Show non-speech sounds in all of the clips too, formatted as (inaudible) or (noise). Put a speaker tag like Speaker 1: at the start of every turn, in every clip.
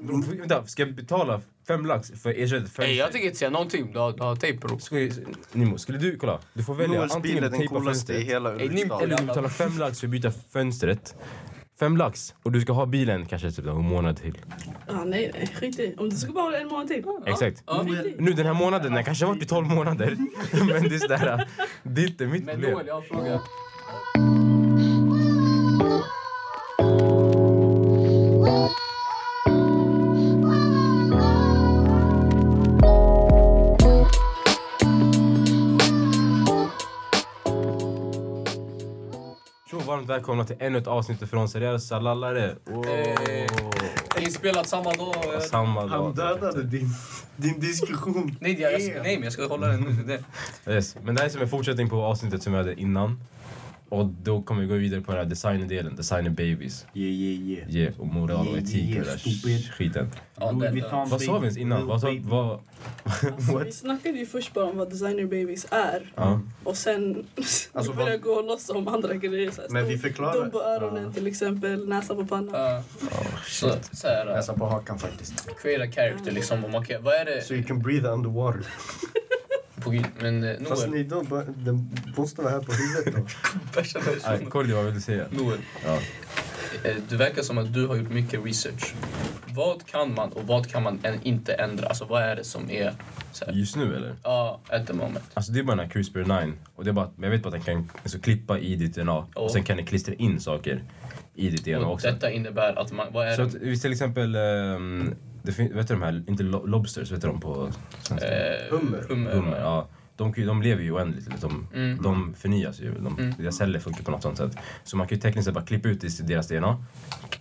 Speaker 1: Vänta, ska jag betala fem lax för erkännandet?
Speaker 2: Nej, jag tänker inte säga någonting. Du har, du har tejp bror.
Speaker 1: Nimo, skulle du, kolla. Du får välja.
Speaker 3: Noels bil är den
Speaker 1: tejpa
Speaker 3: coolaste i
Speaker 1: fönstret.
Speaker 3: hela
Speaker 2: ni-
Speaker 3: Ulriksdal.
Speaker 1: Eller du betalar fem lax för att byta fönstret. Fem lax. Och du ska ha bilen kanske typ en månad till.
Speaker 4: Ah, nej, nej, skit i. Om du ska bara ha en månad till.
Speaker 1: Exakt.
Speaker 2: Ja.
Speaker 4: Skit i.
Speaker 1: Nu den här månaden, den kanske har varit i 12 månader. (laughs) Men det är sådär, det är inte mitt
Speaker 2: Men Noel,
Speaker 1: problem.
Speaker 2: jag har en fråga.
Speaker 1: Så varmt välkomna till ännu ett avsnitt från Seriösa lallare. Wow.
Speaker 2: Eh, Inspelat samma dag. eh,
Speaker 1: Samma
Speaker 3: Han
Speaker 1: dag.
Speaker 3: dödade din, din diskussion.
Speaker 2: Nej, jag, jag, nej, men jag ska hålla den nu. det är Det.
Speaker 1: Yes. Men det här är som en fortsättning på avsnittet som vi hade innan. Och då kommer vi gå vidare på den här designdelen, designer babies.
Speaker 3: Yeah, yeah, yeah.
Speaker 1: Yeah, och moral och etik och den där skiten.
Speaker 2: Ja,
Speaker 3: Louis
Speaker 2: den,
Speaker 3: Vuitton
Speaker 1: Vad sa vi ens
Speaker 3: baby.
Speaker 1: innan? Vad sa,
Speaker 3: Little baby.
Speaker 1: vad,
Speaker 4: Alltså, vi snackade ju först bara om vad designer babies är
Speaker 1: ja.
Speaker 4: och sen (laughs)
Speaker 3: Alltså,
Speaker 4: vi började
Speaker 3: vad-
Speaker 4: gå loss om andra grejer. Så här,
Speaker 3: Men vi
Speaker 4: stor-
Speaker 3: förklarar-
Speaker 4: Dum på öronen till exempel, näsa på pannan.
Speaker 2: eh, så, så här, eh,
Speaker 3: Näsan på hakan faktiskt.
Speaker 2: create a character liksom. Och man kan, vad är det?
Speaker 3: So you can breathe underwater.
Speaker 2: På, men eh,
Speaker 3: Fast
Speaker 2: Noel.
Speaker 3: ni då, bara- den måste vara här på huvudet då.
Speaker 2: Värsta
Speaker 1: Aj,
Speaker 2: versionen.
Speaker 1: Kolli, vad vill du säga?
Speaker 2: Noel,
Speaker 1: Ja.
Speaker 2: eh, det verkar som att du har gjort mycket research. Vad kan man och vad kan man än inte ändra? Alltså vad är det som är så här?
Speaker 1: Just nu eller?
Speaker 2: Ja, at the moment.
Speaker 1: Alltså det är bara den här CRISPR 9. Och det är bara, att- jag vet bara att den kan alltså, klippa i ditt DNA.
Speaker 2: Ja.
Speaker 1: Och sen kan den klistra in saker i ditt DNA
Speaker 2: Och
Speaker 1: också.
Speaker 2: detta innebär att man, vad är
Speaker 1: Så
Speaker 2: det?
Speaker 1: att, vi till exempel, ehm, det fin- vet du de här, inte lo- lobsters, vet du de på svenska?
Speaker 2: Eh,
Speaker 3: Hummer.
Speaker 2: hummer.
Speaker 1: Hummer, ja. De, kan ju- de lever ju oändligt, eller de, de förnyas ju. De, Deras celler funkar på något sånt sätt. Så man kan ju tekniskt sett bara klippa ut det- deras DNA,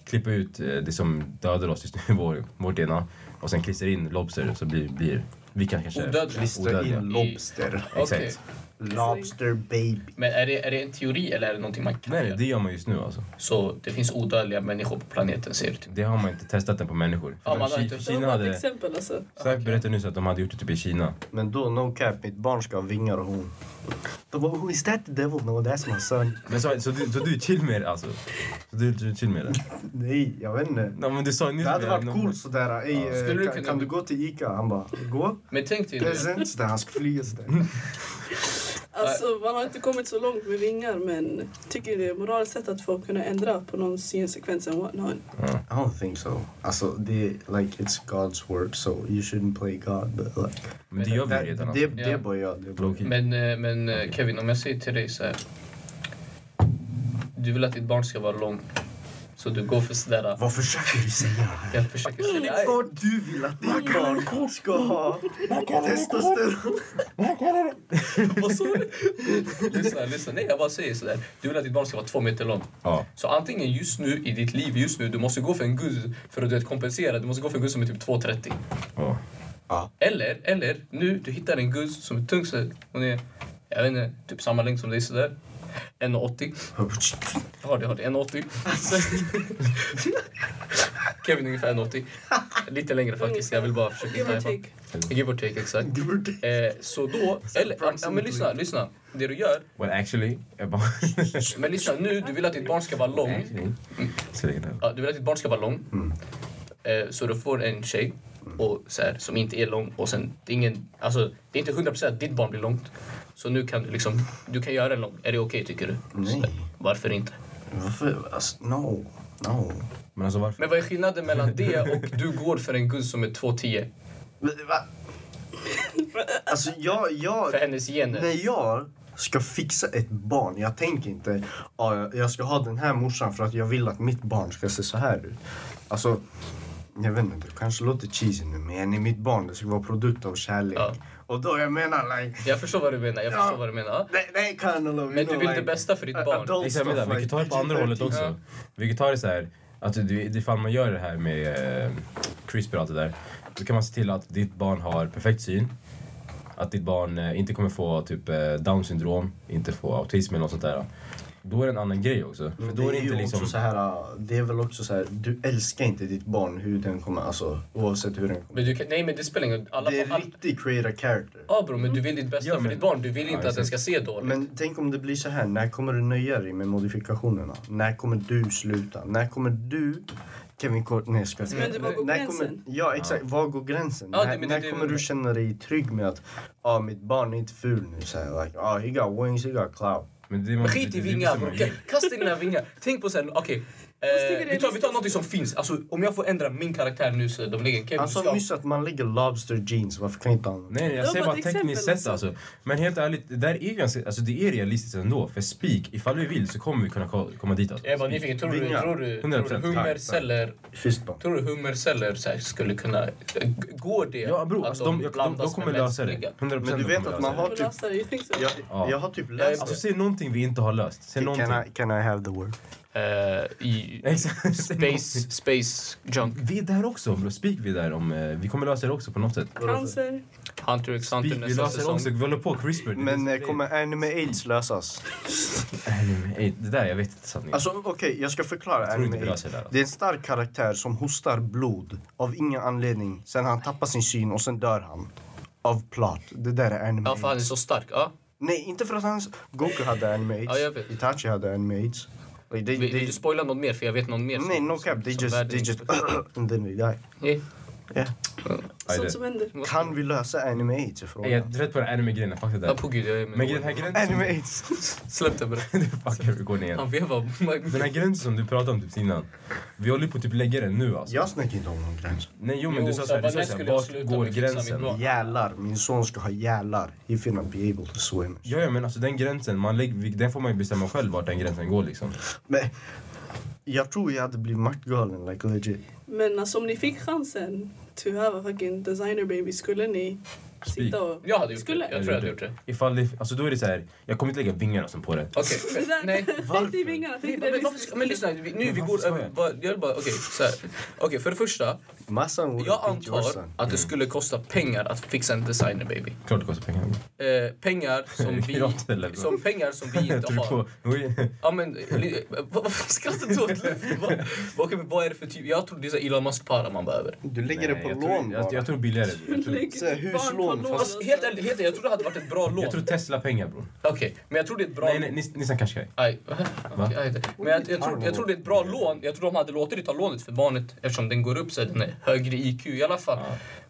Speaker 1: klippa ut eh, det som dödar oss just nu, vår, vårt DNA, och sen klistra in lobster så blir, blir vi kan kanske...
Speaker 2: (laughs) Odödliga.
Speaker 3: Klistra in lobster.
Speaker 2: Okej.
Speaker 1: Exakt.
Speaker 3: Lobster baby.
Speaker 2: Men är det, är det en teori eller är det någonting man kan
Speaker 1: Nej, nej,
Speaker 2: göra?
Speaker 1: det gör man just nu alltså.
Speaker 2: Så det finns odödliga människor på planeten ser det ut.
Speaker 1: Det har man inte testat den på människor.
Speaker 2: Ja, man har
Speaker 1: Ki-
Speaker 2: inte-
Speaker 1: för
Speaker 4: det var
Speaker 1: Kina
Speaker 4: bara ett
Speaker 1: hade...
Speaker 4: exempel alltså.
Speaker 1: Zac berättade nyss att de hade gjort det typ i Kina.
Speaker 3: Men då, no cap, mitt barn ska ha vingar och horn. De bara, oh, is that the devil? No, that's my son.
Speaker 1: Men så, så, du, så du är chill med det alltså? Så du, du är chill med det?
Speaker 3: Nej, jag vet inte.
Speaker 1: Nej men du sa nyss...
Speaker 3: Det hade varit
Speaker 1: någon-
Speaker 3: coolt sådär. Ey, eh,
Speaker 2: Skulle du
Speaker 3: kan,
Speaker 2: kunna-
Speaker 3: kan du gå till Ica? Han bara, gå.
Speaker 2: Men tänk dig det.
Speaker 3: Present. Sådär, han ska flyga sådär.
Speaker 4: alltså. Man har inte kommit så långt med vingar men tycker det är moraliskt sett att folk kunna ändra på någons gensekvens än what not.
Speaker 3: I don't think so. Alltså, det är like it's God's word so you shouldn't play God. But like,
Speaker 1: Men det gör vi ju
Speaker 3: det,
Speaker 1: redan
Speaker 3: det,
Speaker 1: alltså.
Speaker 3: det är bara jag. Det är bara
Speaker 1: Low-key.
Speaker 2: Men, eh, men eh, Kevin, om jag säger till dig så här. Du vill att ditt barn ska vara lång. Så du går för sådär. eh,
Speaker 3: Vad försöker du säga?
Speaker 2: Jag försöker säga. Nej.
Speaker 3: Vad du vill att ditt barn ska ha testosteron.
Speaker 2: Vad sa du? Lyssna, lyssna. Nej, jag bara säger sådär. Du vill att ditt barn ska vara två meter lång.
Speaker 1: Ja.
Speaker 2: Så antingen just nu i ditt liv, just nu, du måste gå för en gud för att du vet, kompensera. Du måste gå för en gud som är typ 2,30.
Speaker 1: ja.
Speaker 2: Eller, eller, nu, du hittar en gud som är tung så hon är, jag vet inte, typ samma längd som dig sådär. 1,80. Jag har det, jag har det.
Speaker 4: (laughs)
Speaker 2: 1,80. Kevin är ungefär 1,80. Lite längre faktiskt, jag vill bara försöka
Speaker 4: Give
Speaker 2: hitta
Speaker 4: or
Speaker 2: en-
Speaker 4: take.
Speaker 2: Give or take, exakt.
Speaker 3: Give or take.
Speaker 2: Eh, så då, eller, ja, ja, men lyssna, lyssna. Det du gör,
Speaker 1: Well actually, jag bara...
Speaker 2: men lyssna nu, du vill att ditt barn ska vara lång.
Speaker 1: actually. Så länge det-
Speaker 2: Ja, du vill att ditt barn ska vara lång. Eh, så du får en tjej och, så här, som inte är lång. Och sen, det, är ingen, alltså, det är inte 100% att ditt barn blir långt. Så nu kan du liksom, du kan göra en lång. Är det okej tycker du?
Speaker 3: Nej.
Speaker 2: Varför inte?
Speaker 3: Varför? Alltså, no. No.
Speaker 1: Men alltså varför?
Speaker 2: Men vad är skillnaden mellan det och du går för en gud som är 2,10?
Speaker 3: Men, Va? Alltså, jag... jag
Speaker 2: För hennes gener?
Speaker 3: när jag ska fixa ett barn, jag tänker inte "Ah, jag- jag ska ha den här morsan för att jag vill att mitt barn ska se så här ut. Alltså, jag vet inte, det kanske låter cheesy nu men jag är mitt barn, det ska vara produkt av kärlek.
Speaker 2: Ja.
Speaker 3: Och då jag menar like,
Speaker 2: Jag förstår vad du menar, jag förstår vad du menar.
Speaker 3: they, they kind of love,
Speaker 2: Men du vill det bästa för ditt barn.
Speaker 1: Exakt, vänta, vi kan ta det på andra
Speaker 3: typ.
Speaker 1: hållet också. Vi kan ta det så här, att du, ifall man gör det här med eh, CRISPR och allt det där, då kan man se till att ditt barn har perfekt syn. Att ditt barn eh, inte kommer få typ eh, down syndrom, inte få autism eller något sånt där. Då är det en annan grej också. För
Speaker 3: Men
Speaker 1: då är det
Speaker 3: Mm, ju
Speaker 1: inte liksom...
Speaker 3: också så här, äh, det är väl också så här, du älskar inte ditt barn hur den kommer, alltså oavsett hur den kommer.
Speaker 2: Men du kan, nej men det spelar ingen roll.
Speaker 3: Det är
Speaker 2: Alla-
Speaker 3: riktigt create a character.
Speaker 2: Ja bror, men du vill ditt bästa
Speaker 1: Ja,
Speaker 2: för
Speaker 1: men-
Speaker 2: ditt barn. Du vill inte att den
Speaker 1: exakt.
Speaker 2: ska se dåligt.
Speaker 3: Men tänk om det blir så här, när kommer du nöja dig med modifikationerna? När kommer du sluta? När kommer du Kevin Court, nej jag skojar.
Speaker 4: Men det var går
Speaker 3: När
Speaker 4: gränsen?
Speaker 3: kommer, ja exakt, var går gränsen?
Speaker 2: Ja, det-
Speaker 3: när
Speaker 2: men det-
Speaker 3: när
Speaker 2: det-
Speaker 3: kommer du känna dig trygg med att ah, mitt barn är inte ful nu? Så här, like, ah, he got wings, he got clout.
Speaker 1: Men det är liksom- man-
Speaker 2: Men skit
Speaker 1: det-
Speaker 2: i
Speaker 1: det
Speaker 2: vingar
Speaker 1: bestämmer
Speaker 2: bror,
Speaker 1: ju.
Speaker 2: Okej, kasta in dina vingar. Tänk på sen, okej. Eh, vi, tar, vi tar något som finns. Alltså, om jag får ändra min karaktär nu så de lägger Kevin
Speaker 3: Han
Speaker 1: Alltså,
Speaker 2: du
Speaker 3: sa
Speaker 2: ska-
Speaker 3: nyss att man lägger lobster jeans, varför kan inte han?
Speaker 1: Nej, nej, jag
Speaker 4: Det var
Speaker 1: säger
Speaker 4: bara
Speaker 1: bara
Speaker 4: ett
Speaker 1: tekniskt
Speaker 4: exempel,
Speaker 1: sett alltså. Men helt ärligt, det där är ganska, alltså det är realistiskt ändå. För spik, ifall vi vill så kommer vi kunna ko- komma dit alltså.
Speaker 2: Jag är bara nyfiken, tror du,
Speaker 3: Vingar.
Speaker 2: tror du, tror
Speaker 1: 100%.
Speaker 2: du hummerceller,
Speaker 3: Fistbump.
Speaker 2: tror du hummerceller så här, skulle kunna... g- Går det
Speaker 1: Ja bror, alltså, de, jag, de, de
Speaker 2: blandas
Speaker 1: kommer
Speaker 2: med
Speaker 1: lösa det.
Speaker 2: mänskliga?
Speaker 1: 100% de
Speaker 3: Men du
Speaker 1: kommer
Speaker 3: vet att
Speaker 1: lösa
Speaker 3: man
Speaker 1: det.
Speaker 3: har
Speaker 4: Jag liksom.
Speaker 3: typ...
Speaker 4: läser, jag tänkte
Speaker 3: Jag,
Speaker 1: Ja.
Speaker 3: jag har typ läst
Speaker 1: Alltså säg någonting vi inte har löst. Säg
Speaker 3: det.
Speaker 1: någonting.
Speaker 3: Can I, can I have the word?
Speaker 2: Eh, i-
Speaker 1: (laughs) Exakt. säg någonting.
Speaker 2: Space, space junk.
Speaker 1: Vi är där också bror, spik vi är där om, eh, vi kommer lösa det också på något sätt.
Speaker 4: cancer.
Speaker 2: Hunter x Hunter
Speaker 1: Spik, vi
Speaker 2: nästa
Speaker 1: löser det
Speaker 2: säsong.
Speaker 1: också, vi håller på CRISPR.
Speaker 3: Men
Speaker 1: det,
Speaker 3: eh, kommer anime aids lösas?
Speaker 1: Nej, nej, det där jag vet inte sanningen.
Speaker 3: Alltså okej, jag ska förklara
Speaker 1: tror inte vi
Speaker 3: anime aids.
Speaker 1: löser det där, alltså.
Speaker 3: Det är en stark karaktär som hostar blod av ingen anledning. Sen han tappar sin syn och sen dör han. Av plot. Det där är anime
Speaker 2: Ja, för han är
Speaker 3: aids.
Speaker 2: så stark. Ja.
Speaker 3: Nej, inte för att han... Goku hade anime aids.
Speaker 2: Ja, jag vet.
Speaker 3: Itachi hade anime aids. Like, they,
Speaker 2: Vill, vill du
Speaker 3: they,
Speaker 2: spoila något mer? För jag vet någon mer. som-
Speaker 3: nej, no cap. They
Speaker 2: som
Speaker 3: just...
Speaker 2: världen Eh,
Speaker 3: They
Speaker 2: inte
Speaker 3: just
Speaker 2: förstår.
Speaker 3: (clears throat) and then they die.
Speaker 2: Nej.
Speaker 3: Yeah.
Speaker 1: Aj, det-
Speaker 4: Sånt som händer.
Speaker 3: Kan vi lösa anime aids? är
Speaker 1: Nej,
Speaker 3: frågan.
Speaker 1: Jag är trött på den här anime-grejen, fuck det
Speaker 2: Ja,
Speaker 1: där.
Speaker 2: på gud, jag är med.
Speaker 1: Men den här gränsen...
Speaker 3: (laughs) Anime aids.
Speaker 2: Släpp det bara.
Speaker 1: (laughs) Fuck, vi går ner.
Speaker 2: Han vevar.
Speaker 1: Den här gränsen som du pratade om typ innan. Vi håller på att typ lägga den nu alltså.
Speaker 3: Jag snackar inte om någon gräns.
Speaker 1: Nej jo men
Speaker 2: Jo,
Speaker 1: du sa
Speaker 2: så
Speaker 1: såhär, du
Speaker 2: vad
Speaker 1: sa
Speaker 2: när
Speaker 1: såhär,
Speaker 2: skulle jag
Speaker 1: vart
Speaker 2: sluta
Speaker 1: går
Speaker 2: med att fixa mitt
Speaker 1: gränsen?
Speaker 2: blad?
Speaker 3: Gälar. Min son ska ha gälar. He will not be able to swim.
Speaker 1: Ja, ja men alltså den gränsen, man lägger, den får man ju bestämma själv vart den gränsen går liksom.
Speaker 3: Men jag tror jag hade blivit maktgalen, like legit.
Speaker 4: Men alltså om ni fick chansen to have a fucking designer baby, skulle ni sitta och...
Speaker 2: Jag hade gjort
Speaker 4: Skulle.
Speaker 2: det. Jag tror jag hade gjort det.
Speaker 1: Ifall det, alltså då är det såhär, jag kommer inte lägga vingarna som på det.
Speaker 2: Okej. (laughs)
Speaker 4: Det där-
Speaker 2: Nej.
Speaker 4: Tänk dig vingarna,
Speaker 2: Nej,
Speaker 4: tänk
Speaker 2: men, varför,
Speaker 4: dig realistiskt.
Speaker 2: ska- men lyssna, vi- nu vi
Speaker 1: varför
Speaker 2: går
Speaker 1: ska
Speaker 2: över...
Speaker 1: jag?
Speaker 2: vad- Jag bara, okej, så här. Okej, för det första.
Speaker 3: Massan would
Speaker 2: Jag
Speaker 3: beat your
Speaker 2: antar
Speaker 3: son.
Speaker 2: att det skulle kosta pengar att fixa en designer baby.
Speaker 1: Klart det kostar pengar.
Speaker 2: Eh, pengar som
Speaker 1: (laughs) Pirat eller
Speaker 2: vi, som pengar som
Speaker 1: (laughs)
Speaker 2: vi
Speaker 1: Jag
Speaker 2: inte
Speaker 1: tror
Speaker 2: har.
Speaker 1: på, oj,
Speaker 2: Ja men, li- vad- varför skrattar du åt Leffe? Vad- vad- Vad är det för typ? Jag tror det är så här Elon Musk-para man behöver.
Speaker 3: Du lägger det på
Speaker 1: jag tror,
Speaker 3: lån
Speaker 1: jag, jag tror billigare. Jag tror,
Speaker 4: Lägg
Speaker 3: Så här,
Speaker 4: barn på
Speaker 3: huslån,
Speaker 4: lån,
Speaker 3: fast-
Speaker 2: Alltså, helt ärligt, helt ärligt, jag tror det hade varit ett bra lån.
Speaker 1: jag tror Tesla-pengar bror.
Speaker 2: Okej, men jag tror det är ett bra...
Speaker 1: Nej nej, Nis- Nissan Qashqai.
Speaker 2: Aj, okej, aj, det- men jag, jag, tror, jag tror det är ett bra lån. Jag tror de hade låtit dig ta lånet för barnet eftersom den går upp så den är högre IQ i alla fall.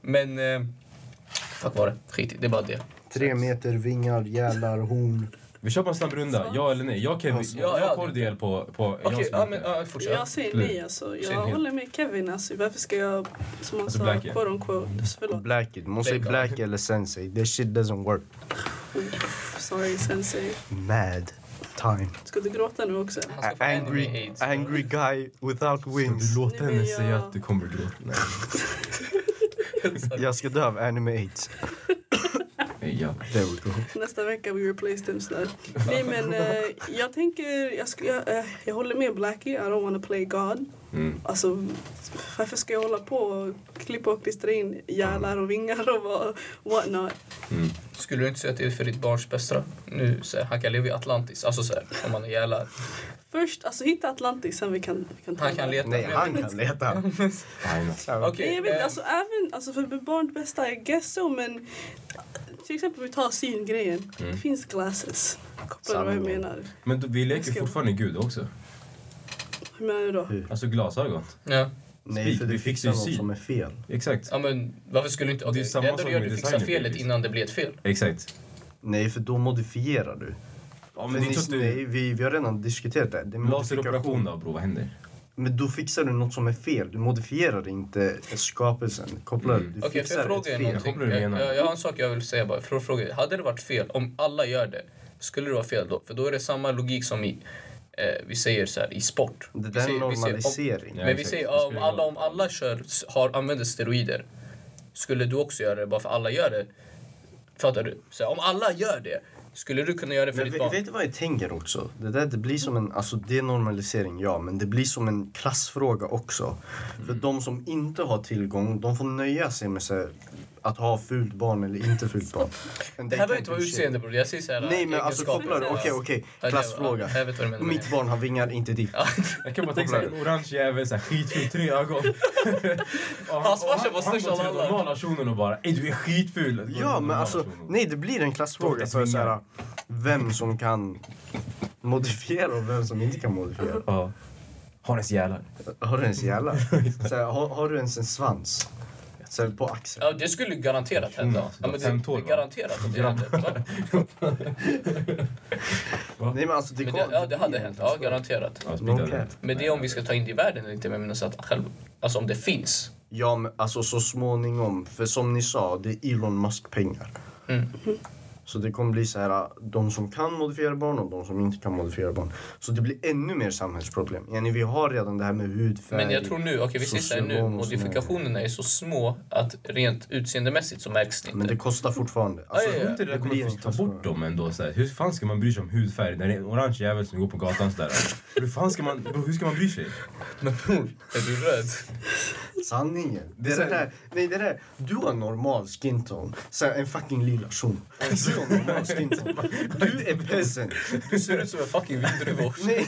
Speaker 2: Men... Eh, fuck var det? Skit i det, är bara det.
Speaker 3: Tre meter, vingar, gälar, horn.
Speaker 1: Vi kör på en snabb runda, ja eller nej? Jag Kevin,
Speaker 3: Alltså,
Speaker 1: jag,
Speaker 2: ja,
Speaker 1: jag
Speaker 2: det-
Speaker 1: Kordiel på... på
Speaker 2: Okej,
Speaker 1: jag som-
Speaker 2: ja men ja, fortsätt.
Speaker 4: Jag säger nej alltså. Jag
Speaker 1: Synnerhet.
Speaker 4: håller med Kevin. Alltså, varför ska jag, som han
Speaker 1: Alltså,
Speaker 4: sa,
Speaker 1: black, ja.
Speaker 4: quote on quote, förlåt,
Speaker 3: Black it. Måste säga black eller sensei. This shit doesn't work.
Speaker 4: sorry sensei.
Speaker 3: Mad time.
Speaker 4: Ska du gråta nu också?
Speaker 2: Han
Speaker 3: A-
Speaker 2: ska få anime
Speaker 3: angry,
Speaker 2: aids.
Speaker 3: angry guy without
Speaker 1: Du
Speaker 3: wings.
Speaker 1: låter
Speaker 4: Nej, men
Speaker 1: henne
Speaker 4: jag-
Speaker 1: säga att du kommer gråta. Nej,
Speaker 3: Jag ska dö av anime aids.
Speaker 1: nej ja.
Speaker 3: There we go.
Speaker 4: Nästa vecka we replace them snart. Nej men eh, jag tänker, jag, sk- jag, eh, jag håller med Blackie, I don't wanna play God.
Speaker 1: Mm.
Speaker 4: Alltså varför ska jag hålla på och klippa och klistra in gälar och vingar och vad- what not?
Speaker 2: Skulle du inte säga att det är för ditt barns bästa? Nu, så här, han kan leva i Atlantis, alltså så här, om han är jävlar.
Speaker 4: Först, alltså hitta Atlantis sen vi kan, vi kan ta
Speaker 2: Han kan
Speaker 4: det.
Speaker 2: leta.
Speaker 3: Nej, han kan leta.
Speaker 1: Nej, nej.
Speaker 2: Okej,
Speaker 4: Nej, jag vet,
Speaker 2: eh,
Speaker 4: alltså även alltså, för barns bästa, I guess so, men till exempel vi tar syngrejen. Det finns glasses. Kopplar du vad jag
Speaker 3: Sanning.
Speaker 4: menar?
Speaker 1: Men då, vi leker
Speaker 4: Ska-
Speaker 1: fortfarande Gud också.
Speaker 4: Hur menar du då?
Speaker 3: Hur?
Speaker 1: Alltså glasögon.
Speaker 2: ja.
Speaker 3: Nej, för
Speaker 1: Vi
Speaker 3: du
Speaker 1: fixar
Speaker 3: fixar
Speaker 1: ju
Speaker 3: något
Speaker 1: syn.
Speaker 3: som är fel.
Speaker 1: Exakt.
Speaker 2: ja, men varför skulle inte... Okay.
Speaker 1: Det är
Speaker 2: Det
Speaker 1: samma
Speaker 2: enda du
Speaker 1: som
Speaker 2: gör är
Speaker 1: med
Speaker 2: att du fixar
Speaker 1: designer,
Speaker 2: felet
Speaker 1: babies.
Speaker 2: innan det blir ett fel.
Speaker 1: Exakt.
Speaker 3: Nej, för då modifierar du.
Speaker 1: Ja,
Speaker 3: Men
Speaker 1: men det är
Speaker 3: ni,
Speaker 1: klart
Speaker 3: nej,
Speaker 1: du...
Speaker 3: vi, vi har redan diskuterat det. här. det är
Speaker 1: Laseroperation då bror, vad händer?
Speaker 3: Men då fixar du något som är fel. Du modifierar inte skapelsen. Kopplar du
Speaker 2: Mm. Okej, får
Speaker 3: fixar
Speaker 2: jag fråga er
Speaker 3: ett fel.
Speaker 2: någonting?
Speaker 1: Jag kommer att
Speaker 2: Jag,
Speaker 1: mena.
Speaker 2: jag, jag har en sak jag vill säga bara. För att fråga, er. hade det varit fel om alla gör det? Skulle det vara fel då? För då är det samma logik som i, eh, vi säger så här, i sport.
Speaker 3: Det
Speaker 2: vi
Speaker 3: där är
Speaker 2: säger, vi säger, om,
Speaker 3: normalisering.
Speaker 1: Ja,
Speaker 2: men vi
Speaker 1: exakt.
Speaker 2: säger
Speaker 1: Det
Speaker 2: ja,
Speaker 1: spelar
Speaker 2: om
Speaker 1: ingen
Speaker 2: alla,
Speaker 1: roll.
Speaker 2: om alla kör, har, använder steroider, skulle du också göra det bara för alla gör det? Fattar du? Så här, om alla gör det, skulle du kunna göra det för
Speaker 3: Men
Speaker 2: ditt
Speaker 3: ve-
Speaker 2: barn?
Speaker 3: vet du vad jag tänker också? Det där det blir som en, alltså det är normalisering ja, men det blir som en klassfråga också.
Speaker 2: Mm.
Speaker 3: För de som inte har tillgång, de får nöja sig med så här, att ha fult barn eller inte fult
Speaker 2: (laughs)
Speaker 3: barn.
Speaker 2: Det
Speaker 3: And they
Speaker 2: här behöver
Speaker 3: can't
Speaker 2: inte vara
Speaker 3: do shit.
Speaker 2: utseende bror, jag säger såhär
Speaker 3: Nej men alltså kopplar du, okej okej,
Speaker 2: Ja, det-
Speaker 3: klassfråga.
Speaker 2: ja, jag vet vad du menar med
Speaker 3: Mitt
Speaker 2: det.
Speaker 3: barn har vingar, inte ditt.
Speaker 1: Jag kan bara tänka såhär, en orange jävel, såhär, skitful, tre ögon. Och han-
Speaker 2: Hans farsa
Speaker 1: och han-
Speaker 2: var störst
Speaker 1: Han går
Speaker 2: av
Speaker 1: till
Speaker 2: alla.
Speaker 1: normala shunon och bara, ey du är skitful.
Speaker 3: Ja men alltså,
Speaker 1: nej.
Speaker 3: nej det blir en klassfråga
Speaker 1: Torkas
Speaker 3: för så här,
Speaker 1: vingar.
Speaker 3: vem som kan modifiera och vem som inte kan modifiera.
Speaker 1: Ja. Har ens jävlar.
Speaker 3: Har du
Speaker 1: (laughs)
Speaker 3: ens jävlar? Så här, har, har du ens en svans? Så här, på axeln?
Speaker 2: (laughs) Ja, det skulle garanterat hända.
Speaker 1: Mm,
Speaker 2: ja, men det,
Speaker 1: femtår,
Speaker 2: det
Speaker 1: va?
Speaker 2: är garanterat att det hände. va?
Speaker 3: Nej men alltså det,
Speaker 2: Men
Speaker 3: kom,
Speaker 2: det, ja, det hade hänt. Ja, garanterat.
Speaker 1: Ja, smittar
Speaker 3: Okej.
Speaker 1: det.
Speaker 2: Men det är om vi ska ta in det i världen eller inte. Men jag menar så att själv, alltså om det finns.
Speaker 3: Ja men alltså så småningom, för som ni sa, det är Elon Musk pengar.
Speaker 2: Mm.
Speaker 3: Så det kommer bli så här, de som kan modifiera barn och de som inte kan modifiera barn. Så det blir ännu mer samhällsproblem. Yani, vi har redan det här med hudfärg.
Speaker 2: Men jag tror nu, okej vi ser så här nu,
Speaker 3: socionom och sådär.
Speaker 2: modifikationerna är så små att rent utseendemässigt så märks det
Speaker 3: Men
Speaker 2: inte.
Speaker 3: det kostar fortfarande. Alltså,
Speaker 2: Ja, ja,
Speaker 1: Jag
Speaker 2: ja.
Speaker 1: tror inte det,
Speaker 3: Det
Speaker 1: där kommer
Speaker 3: blir
Speaker 1: att ta
Speaker 3: en
Speaker 1: bort dem ändå. Så här. Hur fan ska man bry sig om hudfärg när det är en orange jävel som går på gatan sådär? Hur fan ska man, bro, hur ska man bry sig?
Speaker 2: Men bror, är du röd?
Speaker 3: Sanningen. Det är
Speaker 1: Så-
Speaker 3: det där, nej det där, du har normal skin tone. Så här, en fucking lila shun. Du har normal skin tone. (laughs) Du är peasant.
Speaker 2: Du ser ut som en fucking vindruva.
Speaker 3: Nej,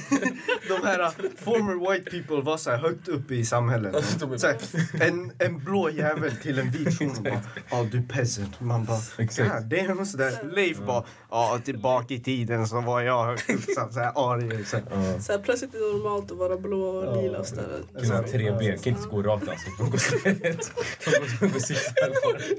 Speaker 3: de här uh, former white people var så här högt uppe i samhället.
Speaker 2: Alltså, de är-
Speaker 3: Så här, en, en blå jävel till en vit shun och bara ja du peasant. Man bara
Speaker 1: Exakt.
Speaker 3: ja det är så där. Leif bara ja tillbaka i tiden så var jag högt upp. Så här arier. Så här.
Speaker 1: Ja.
Speaker 4: Så här, plötsligt är det normalt att vara blå och lila och
Speaker 3: (laughs)
Speaker 4: sådär.
Speaker 1: Kunna ha tre ben, kan inte gå rakt alltså. De går (laughs) snett. De går zigzag.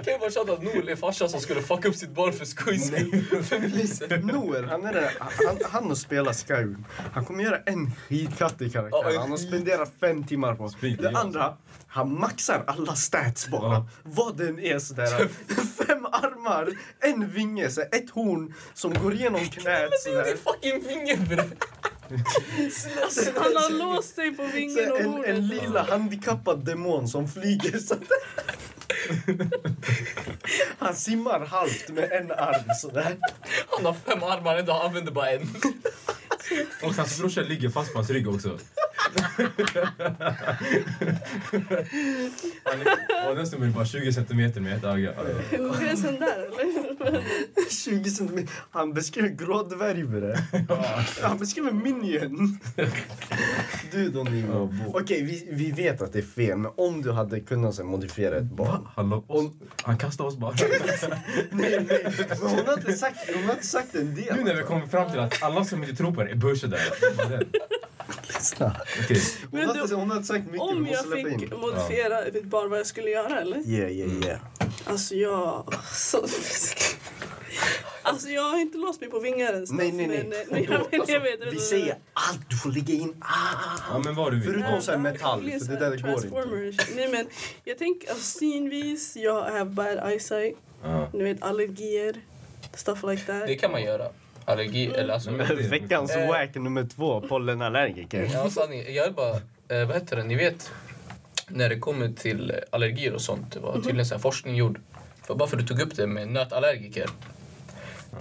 Speaker 2: Kan jag bara tjata att Noel är farsan som skulle fucka upp sitt barn för skojs skull? För polisen.
Speaker 3: Noel, han är det, han, han och spelar Skyrim. Han kommer göra en skitkattig
Speaker 2: Ja,
Speaker 3: karaktär.
Speaker 2: en
Speaker 3: Han har
Speaker 2: skit.
Speaker 3: spenderat fem timmar på.
Speaker 1: Spik,
Speaker 3: Det
Speaker 1: ja.
Speaker 3: andra, han maxar alla stats bara.
Speaker 1: Ja.
Speaker 3: Vad den är sådär. Fem armar, en vinge, så ett horn som går igenom knät sådär.
Speaker 2: Din fucking vinge bre!
Speaker 4: Alltså, Han har låst sig på
Speaker 3: Så
Speaker 4: vingen och
Speaker 3: en, en
Speaker 4: hornet.
Speaker 3: lila handikappad demon som flyger sådär. Han simmar halvt med en arm sådär.
Speaker 2: Han har fem armar ändå, han använder bara en.
Speaker 1: Och hans brorsa ligger fast på hans rygg också. Han är- Och den snubben är bara 20 centimeter med ett öga. Ja, ja.
Speaker 4: Går gränsen där eller?
Speaker 3: 20 centimeter. Han beskriver grå dvärg
Speaker 1: (laughs)
Speaker 3: med det. Han beskriver minion. Du Donimo.
Speaker 1: Ja, bo.
Speaker 3: Okej, vi, vi vet att det är fel, men om du hade kunnat så här, modifiera ett barn.
Speaker 1: Han, la oss, han kastade oss bara.
Speaker 3: Nej, nej. Men hon har inte sagt, hon har inte sagt en del.
Speaker 1: Nu när vi kommer fram till att alla som inte tror på det är börsade.
Speaker 3: Lyssna.
Speaker 1: Okej,
Speaker 3: Hon,
Speaker 4: Men
Speaker 3: har
Speaker 4: du,
Speaker 3: inte, hon har inte sagt mycket, vi
Speaker 4: Om
Speaker 3: måste
Speaker 4: jag
Speaker 3: släppa
Speaker 4: fick
Speaker 3: in. Mm.
Speaker 4: modifiera mitt barn vad jag skulle göra eller?
Speaker 3: Yeah, yeah, yeah.
Speaker 4: Alltså jag... Så... (laughs) Alltså jag har inte låst mig på vingar ens.
Speaker 3: Nej, nej, nej. alltså,
Speaker 4: Men, eh, nej,
Speaker 3: (laughs)
Speaker 4: jag vet, jag vet,
Speaker 3: Vi säger allt, du får lägga in
Speaker 1: ja,
Speaker 3: allt.
Speaker 1: men vad du vill.
Speaker 3: Förutom så här metall, för det där det går inte.
Speaker 4: Transformers. Nej men jag tänker alltså, synvis, jag har bad eyesight,
Speaker 1: Ja.
Speaker 4: ni vet allergier, stuff like that.
Speaker 2: Det kan man göra. Allergi eller alltså...
Speaker 1: Nej, men-
Speaker 3: (laughs) Veckans
Speaker 2: Eh.
Speaker 3: wack nummer två, pollenallergiker.
Speaker 2: Ja, sanning. Jag är bara... Eh, vad heter det? Ni vet, när det kommer till eh, allergier och sånt. Det
Speaker 1: Mhm.
Speaker 2: var tydligen så här forskning gjord. För, bara för att du tog upp det med nötallergiker.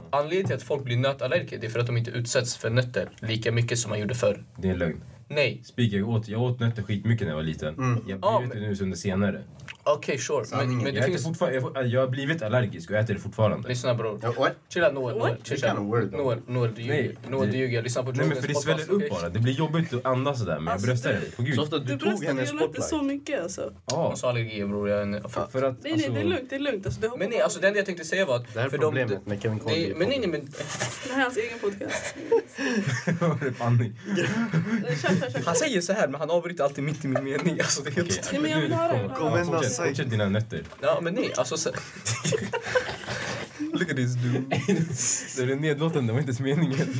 Speaker 2: Anledningen till att folk blir nötallergiker det är för att de inte utsätts för nötter lika mycket som man gjorde förr.
Speaker 1: Det är en lögn.
Speaker 2: Nej.
Speaker 1: Spik, jag åt, jag åt nötter skitmycket när jag var liten. Jag har
Speaker 2: Ja,
Speaker 1: blivit det
Speaker 2: men-
Speaker 1: nu under senare.
Speaker 2: Okej, sure. Men, men det
Speaker 1: Jag,
Speaker 2: finns...
Speaker 1: äter fortfar- jag, får- jag har blivit allergisk och äter det fortfarande.
Speaker 2: Lyssna bror.
Speaker 3: Ja, what?
Speaker 2: Chilla Noel. Noel,
Speaker 4: What?
Speaker 2: chill,
Speaker 3: Vilken
Speaker 2: chill.
Speaker 3: word, då?
Speaker 2: Noel, Noel, du ljuger.
Speaker 1: Nej,
Speaker 2: Noel,
Speaker 1: det-
Speaker 2: du ljuger. Jag lyssnar på
Speaker 1: Nej men för det
Speaker 2: Jogans
Speaker 1: sväller upp
Speaker 2: podcast,
Speaker 1: bara.
Speaker 2: okej?
Speaker 1: Det blir jobbigt att andas sådär men jag
Speaker 4: Alltså,
Speaker 1: bröstar det. På gud.
Speaker 3: Så ofta du
Speaker 4: du
Speaker 3: tog
Speaker 4: bröstar,
Speaker 3: hennes
Speaker 4: jag inte
Speaker 3: spotlight.
Speaker 4: så mycket alltså.
Speaker 1: Ja.
Speaker 2: Hon sa allergier bror. Jag är en...
Speaker 1: För att,
Speaker 4: Nej nej det är
Speaker 1: alltså,
Speaker 4: lugnt, det är lugnt. Alltså, det hoppar
Speaker 2: Men nej,
Speaker 4: bara.
Speaker 2: alltså det enda jag tänkte säga var att...
Speaker 3: Det här är
Speaker 2: för de-
Speaker 3: problemet med Kevin
Speaker 2: det,
Speaker 3: Conley.
Speaker 2: men nej, nej, men
Speaker 4: Det här är hans egen podcast.
Speaker 1: Vad är det för andning?
Speaker 4: Nej, Kör, kör, kör.
Speaker 2: Han säger så här men han avbryter alltid mitt i min mening. Alltså, det är helt
Speaker 1: Okej.
Speaker 4: Nej, men jag vill höra, jag vill höra.
Speaker 1: Kom,
Speaker 3: Kom,
Speaker 1: Fortsätt,
Speaker 3: säg.
Speaker 1: fortsätt dina nötter.
Speaker 2: Ja men nej, alltså så... Look at this dude.
Speaker 1: Det är nedlåtande, det var inte ens (laughs) meningen.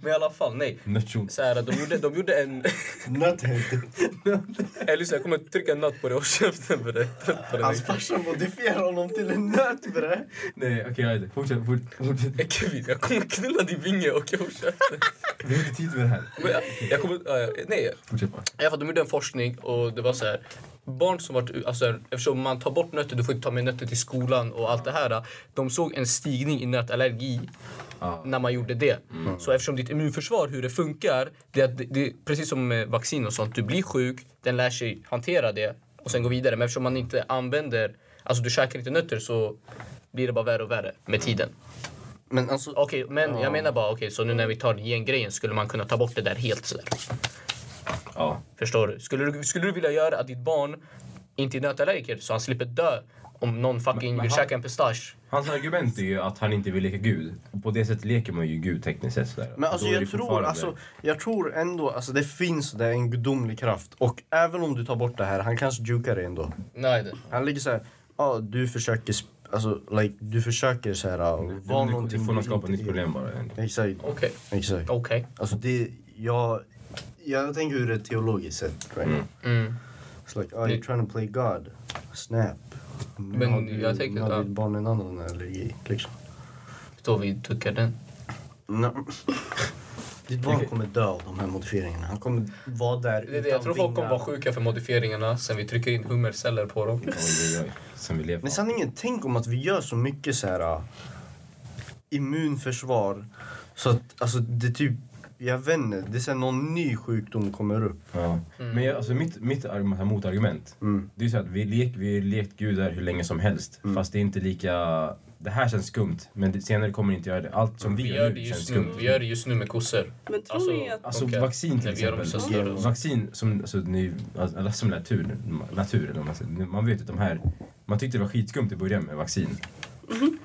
Speaker 2: Men i alla fall, nej.
Speaker 1: Nöttion.
Speaker 2: Så här, de, gjorde, de gjorde en...
Speaker 3: Nuthead.
Speaker 2: Eller lyssna, jag kommer trycka en nöt på dig och käften för dig. Trött på dig.
Speaker 3: Hans farsa modifierar honom till en nöt bre.
Speaker 1: Nej okej, jag vet inte. Fortsätt, fort- fortsätt.
Speaker 2: Eh, Kevin, jag kommer knulla din vinge och jag käften.
Speaker 1: Vi har inte tid med det här.
Speaker 2: Men jag, jag kommer... ja, ja, nej,
Speaker 1: Fortsätt bara.
Speaker 2: i alla fall de gjorde en forskning och det var så här. Barn som varit... Alltså, eftersom man tar bort nötter, du får inte ta med nötter till skolan och allt det här. De såg en stigning i nötallergi
Speaker 1: Ja.
Speaker 2: när man gjorde det. Så eftersom ditt immunförsvar, hur det funkar, det är att det, det, precis som med vaccin och sånt, du blir sjuk, den lär sig hantera det och sen gå vidare. Men eftersom man inte använder, alltså du käkar inte nötter så blir det bara värre och värre med tiden.
Speaker 3: Men alltså,
Speaker 2: Okej, men jag menar bara okej, så nu när vi tar gengrejen skulle man kunna ta bort det där helt sådär.
Speaker 1: ja.
Speaker 2: Förstår du? Skulle du, skulle du vilja göra att ditt barn inte är nötallergiker så han slipper dö om någon fucking
Speaker 1: Men- men
Speaker 2: vill
Speaker 1: han-
Speaker 2: käka en pistage.
Speaker 1: Hans argument är ju att han inte vill leka gud. Och på det sättet leker man ju gud tekniskt sett. sådär.
Speaker 3: Men alltså
Speaker 1: Då är det
Speaker 3: jag, tror,
Speaker 1: fortfarande-
Speaker 3: alltså jag tror ändå, alltså det finns där en gudomlig kraft. Och även om du tar bort det här, han kanske jukar dig ändå.
Speaker 2: Nej, det.
Speaker 3: Han ligger så här, ja du försöker, sp- alltså like, du försöker så här, ah, vara
Speaker 1: det, det,
Speaker 3: någonting.
Speaker 1: det får nog skapa
Speaker 3: du
Speaker 1: ett nytt
Speaker 3: inte är.
Speaker 1: problem bara. egentligen.
Speaker 3: Exakt,
Speaker 2: Okej.
Speaker 3: exakt.
Speaker 2: Okej.
Speaker 3: Alltså det, jag, jag tänker ur ett teologiskt sätt. Right?
Speaker 1: Mm.
Speaker 2: Mm.
Speaker 3: It's like, oh, you're trying to play God. Snap. Nu
Speaker 2: Men
Speaker 3: har du-
Speaker 2: jag tänker
Speaker 3: nu har
Speaker 2: att-
Speaker 3: ditt barn en annan allergi liksom.
Speaker 2: Då vi duckar den.
Speaker 3: No. Ditt barn kommer dö av de här modifieringarna. Han kommer vara där
Speaker 2: Det är det. Jag tror folk kommer vara sjuka för modifieringarna sen vi trycker in hummerceller på dem.
Speaker 1: Oj, oj, oj. Sen vi lever.
Speaker 3: Men sanningen, tänk om att vi gör så mycket så här ah, immunförsvar så att alltså det typ, jag vet inte, det är så här någon ny sjukdom kommer upp.
Speaker 1: Ja. Men jag, alltså mitt, mitt argument, här motargument,
Speaker 3: Mm.
Speaker 1: det är ju så att vi, lek, vi har lekt gudar hur länge som helst. Fast det är inte lika... Det här känns skumt, men det, senare kommer det inte göra det. Allt som vi,
Speaker 2: Vi
Speaker 1: gör
Speaker 2: gör det
Speaker 1: nu känns
Speaker 2: just nu.
Speaker 1: skumt.
Speaker 2: Vi gör det just nu med kossor.
Speaker 4: Men tror
Speaker 2: Alltså-
Speaker 4: ni att...
Speaker 1: Alltså
Speaker 2: Okej.
Speaker 1: vaccin till
Speaker 2: Nej, vi gör dem
Speaker 1: exempel.
Speaker 2: så stora.
Speaker 1: Vaccin som, alltså, ni, alltså, eller som natur, natur eller vad man, säger. man vet att de här, man tyckte det var skitskumt i början med vaccin.
Speaker 3: Mm-hmm.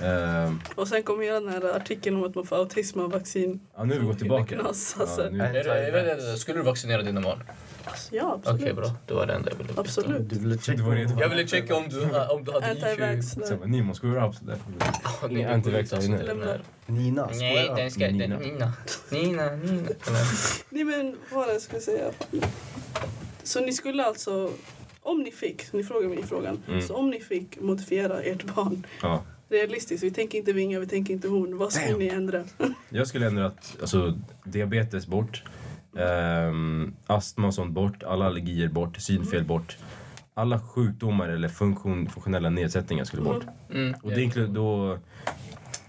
Speaker 1: Ehm,
Speaker 4: Och sen kom hela den här artikeln om att man får autism av vaccin.
Speaker 1: ja, nu har vi gått tillbaka.
Speaker 4: Knas, alltså.
Speaker 1: Ja, nu-
Speaker 2: Är det, är det, skulle du vaccinera dina barn?
Speaker 4: Ja,
Speaker 2: Okej,
Speaker 4: absolut.
Speaker 2: bra. Det var det enda jag ville veta.
Speaker 4: Absolut.
Speaker 3: Du ville checka
Speaker 1: Det var det.
Speaker 2: Jag ville checka om du, om du hade IQ.
Speaker 4: Anti-vax.
Speaker 1: Så jag bara, Nimon, screw up sådär.
Speaker 2: Ja,
Speaker 1: Ni
Speaker 2: det-
Speaker 1: antivaxxare
Speaker 2: alltså,
Speaker 1: nu.
Speaker 2: den här-
Speaker 4: Lämna.
Speaker 3: Nina,
Speaker 2: Nej,
Speaker 3: skoja.
Speaker 2: den ska... Den,
Speaker 1: Nina.
Speaker 2: Nina. Nina, Nina.
Speaker 4: Nej men vad jag skulle säga. Så ni skulle alltså, om ni fick, ni frågar mig i frågan,
Speaker 1: Mm.
Speaker 4: så om ni fick modifiera ert barn
Speaker 1: Ja.
Speaker 4: realistiskt, vi tänker inte vingar, vi tänker inte horn, vad skulle
Speaker 3: Damn.
Speaker 4: ni ändra?
Speaker 1: Jag skulle ändra att alltså, diabetes bort, ehm, astma och sånt bort, alla allergier bort, synfel
Speaker 2: Mm.
Speaker 1: bort. Alla sjukdomar eller funktion, funktionella nedsättningar skulle bort.
Speaker 2: Mm.
Speaker 1: Och det inkluderar då...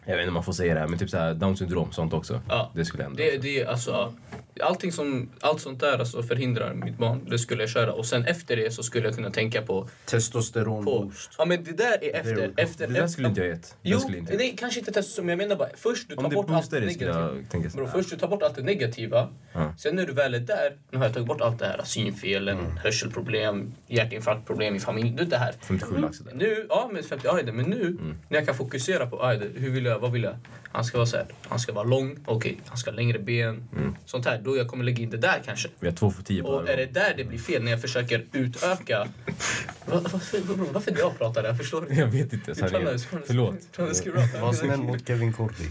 Speaker 1: Jag vet inte om man får säga det här, men typ så här down syndrom sånt också.
Speaker 2: Ja.
Speaker 1: Det skulle ändra.
Speaker 2: Det, det är alltså... Allting som, allt sånt där alltså förhindrar mitt barn. Det skulle jag köra. Och sen efter det så skulle jag kunna tänka på... på
Speaker 3: Testosteronboost.
Speaker 2: ja men det där är efter.
Speaker 3: Det-
Speaker 2: efter
Speaker 1: det där skulle inte jag gett. Det
Speaker 2: Jo,
Speaker 1: skulle inte jag.
Speaker 2: nej, kanske inte testa som jag menar bara. Först du tar
Speaker 1: Om det
Speaker 2: bort allt
Speaker 1: boostar det skulle
Speaker 2: negativt.
Speaker 1: jag tänka
Speaker 2: Bro,
Speaker 1: så här.
Speaker 2: först du tar bort allt det negativa.
Speaker 1: Ja.
Speaker 2: Sen när du väl är där, nu har jag tagit bort allt det här. Synfelen,
Speaker 1: Mm.
Speaker 2: hörselproblem, hjärtinfarktproblem i familjen. Du, det här.
Speaker 1: 57 lax sådär.
Speaker 2: Nu, ja men 50 ajde, men nu när jag kan fokusera på ajde, hur vill jag, vad vill jag? Han ska vara så här, han ska vara lång, okej, han ska ha längre ben, sånt här. Då jag kommer lägga in Mm. det där kanske.
Speaker 1: Vi har två för tio på
Speaker 2: Och
Speaker 1: varje
Speaker 2: är det
Speaker 1: gång.
Speaker 2: där det blir fel när jag försöker utöka? Va- Varför, bror, varför när jag pratar där? Förstår (laughs)
Speaker 1: (laughs)
Speaker 2: du?
Speaker 1: Jag vet inte.
Speaker 2: Vi talar-
Speaker 1: Sanningen. Förlåt.
Speaker 2: talar screw up.
Speaker 3: Vad snäll mot Kevin Corby.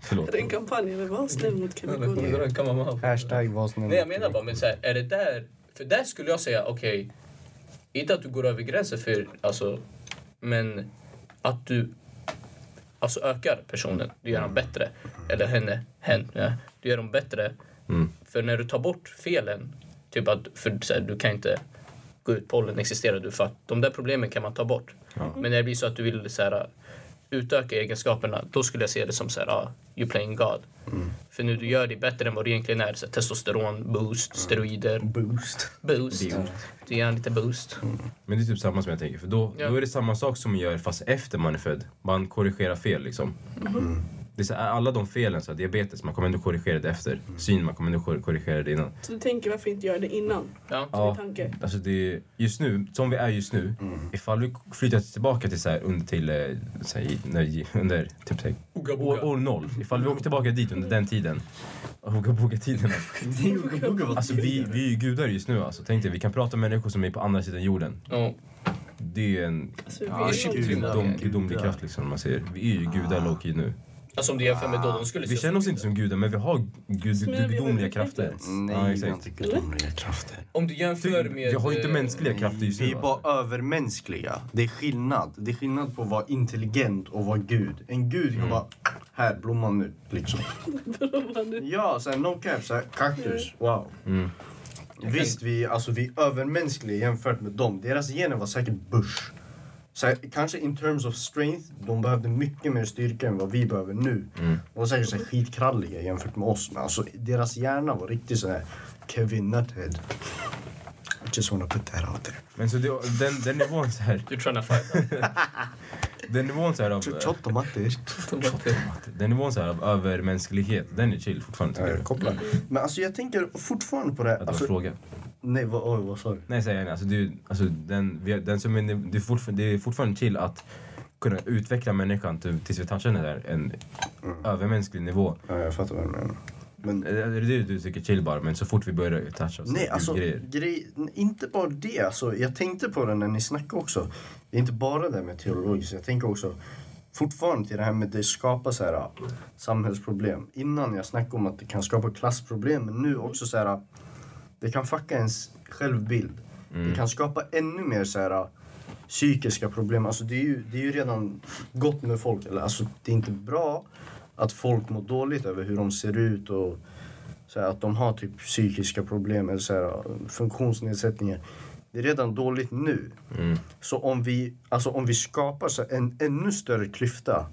Speaker 1: Förlåt.
Speaker 4: Är det en kampanj eller vad? Snäll mot
Speaker 2: Ja, det kommer
Speaker 4: Kevin
Speaker 2: dra en kamera med.
Speaker 3: Hashtag vad snäll
Speaker 2: Nej jag
Speaker 3: mot
Speaker 2: menar
Speaker 3: Kevin
Speaker 2: bara, men så här, är det där... För där skulle jag säga, okej, inte att du går över gränsen för, alltså, men att du alltså ökar personen. Du gör dem bättre. Eller henne, hen. Ja. Du gör dem bättre.
Speaker 1: Mm.
Speaker 2: För när du tar bort felen, typ att för, så här, du kan inte gå ut, pollen existerar du för att de där problemen kan man ta bort. Men när det blir så att du vill så här, utöka egenskaperna, då skulle jag se det som så här, ah, you playing God. För nu du gör det bättre än vad det egentligen är. Så här, testosteron, boost, steroider,
Speaker 3: Boost.
Speaker 2: boost. Du ger en lite boost.
Speaker 1: Men det är typ samma som jag tänker. För då,
Speaker 2: Ja.
Speaker 1: då är det samma sak som man gör fast efter man är född. Man korrigerar fel liksom. Det är så här, alla de felen, så här, diabetes, man kommer ändå korrigera det efter. Syn, man kommer ändå kor- korrigera det innan.
Speaker 4: Så du tänker varför inte göra det innan?
Speaker 2: Ja.
Speaker 4: Som en tanke.
Speaker 1: Alltså det är, just nu, som vi är just nu, ifall vi flyttar tillbaka till så här under till, eh, så här, i- när, under typ så här,
Speaker 2: Uga
Speaker 1: år, år noll, ifall vi åker tillbaka dit under den tiden, Ogaboga-tiden.
Speaker 2: (laughs)
Speaker 1: Alltså vi, vi är ju gudar just nu alltså. Tänk dig, vi kan prata med människor som är på andra sidan jorden.
Speaker 2: Ja.
Speaker 1: Det är ju en
Speaker 4: Alltså, vi
Speaker 1: ja,
Speaker 4: är nog-
Speaker 2: gudar.
Speaker 1: gudom, gudomlig kraft liksom om man säger. Vi är ju gudar Loki nu.
Speaker 2: Alltså om du jämför med då, de skulle
Speaker 1: Vi
Speaker 2: se
Speaker 1: känner oss inte som gudar men vi har gud,
Speaker 4: Men vi har
Speaker 1: gudomliga
Speaker 4: ju
Speaker 1: krafter.
Speaker 3: Nej,
Speaker 1: Ja,
Speaker 3: vi har
Speaker 1: exakt.
Speaker 3: inte gudomliga krafter.
Speaker 2: Om du jämför med...
Speaker 1: Vi har ju inte
Speaker 2: eh,
Speaker 1: mänskliga krafter just
Speaker 3: Vi
Speaker 1: nu.
Speaker 3: är
Speaker 1: alltså.
Speaker 3: bara övermänskliga. Det är skillnad. Det är skillnad på att vara intelligent och vara gud. En gud
Speaker 1: Mm.
Speaker 3: kan vara här, blomman nu. Liksom. Ja, såhär no cap, såhär kaktus. Wow.
Speaker 1: Mm.
Speaker 3: Visst, vi, alltså, vi är övermänskliga jämfört med dem. Deras gener var säkert bush. Så här, kanske in terms of strength, de behövde mycket mer styrka än vad vi behöver nu.
Speaker 1: Mm.
Speaker 3: De var säkert så här, skitkralliga jämfört med oss. Men alltså, deras hjärna var riktigt så här Kevin Nuthead. I just wanna put that out there.
Speaker 1: Men så det, den, den nivån så här,
Speaker 2: You're trying to (laughs) fight.
Speaker 1: den nivån så här av...
Speaker 3: Ch- Tjotto Matti.
Speaker 1: Den nivån så här av övermänsklighet, den är chill fortfarande tycker jag.
Speaker 3: Koppla. Men alltså jag tänker fortfarande på det här.
Speaker 1: Att det var
Speaker 3: Alltså,
Speaker 1: fråga.
Speaker 3: Nej, vad, oj, vad sa du?
Speaker 1: Nej, säger jag nej. Alltså, du, alltså, den, vi har- den som är, det, är fortfarande, det är fortfarande till att kunna utveckla människan till, tills vi touchar den där, en Mm. övermänsklig nivå.
Speaker 3: Ja, jag fattar vad du menar. Eh, Men,
Speaker 1: Eller Det är det du tycker chill bara, men så fort vi börjar toucha oss.
Speaker 3: nej, alltså
Speaker 1: grejer.
Speaker 3: grej, inte bara det. Alltså, jag tänkte på det när ni snackade också. Det är inte bara det med teologiskt. Jag tänker också fortfarande till det här med att det skapar så här, ah, samhällsproblem. Innan jag snackade om att det kan skapa klassproblem, men nu också så här. ah, Det kan fucka ens självbild. Det kan skapa ännu mer så här, ah, psykiska problem. Alltså, det, är ju, det är ju redan gott med folk. Eller, alltså, det är inte bra att folk mår dåligt över hur de ser ut och så här, att de har typ psykiska problem eller så här, äh, funktionsnedsättningar. Det är redan dåligt nu. Så om vi, alltså om vi skapar så här en ännu större klyfta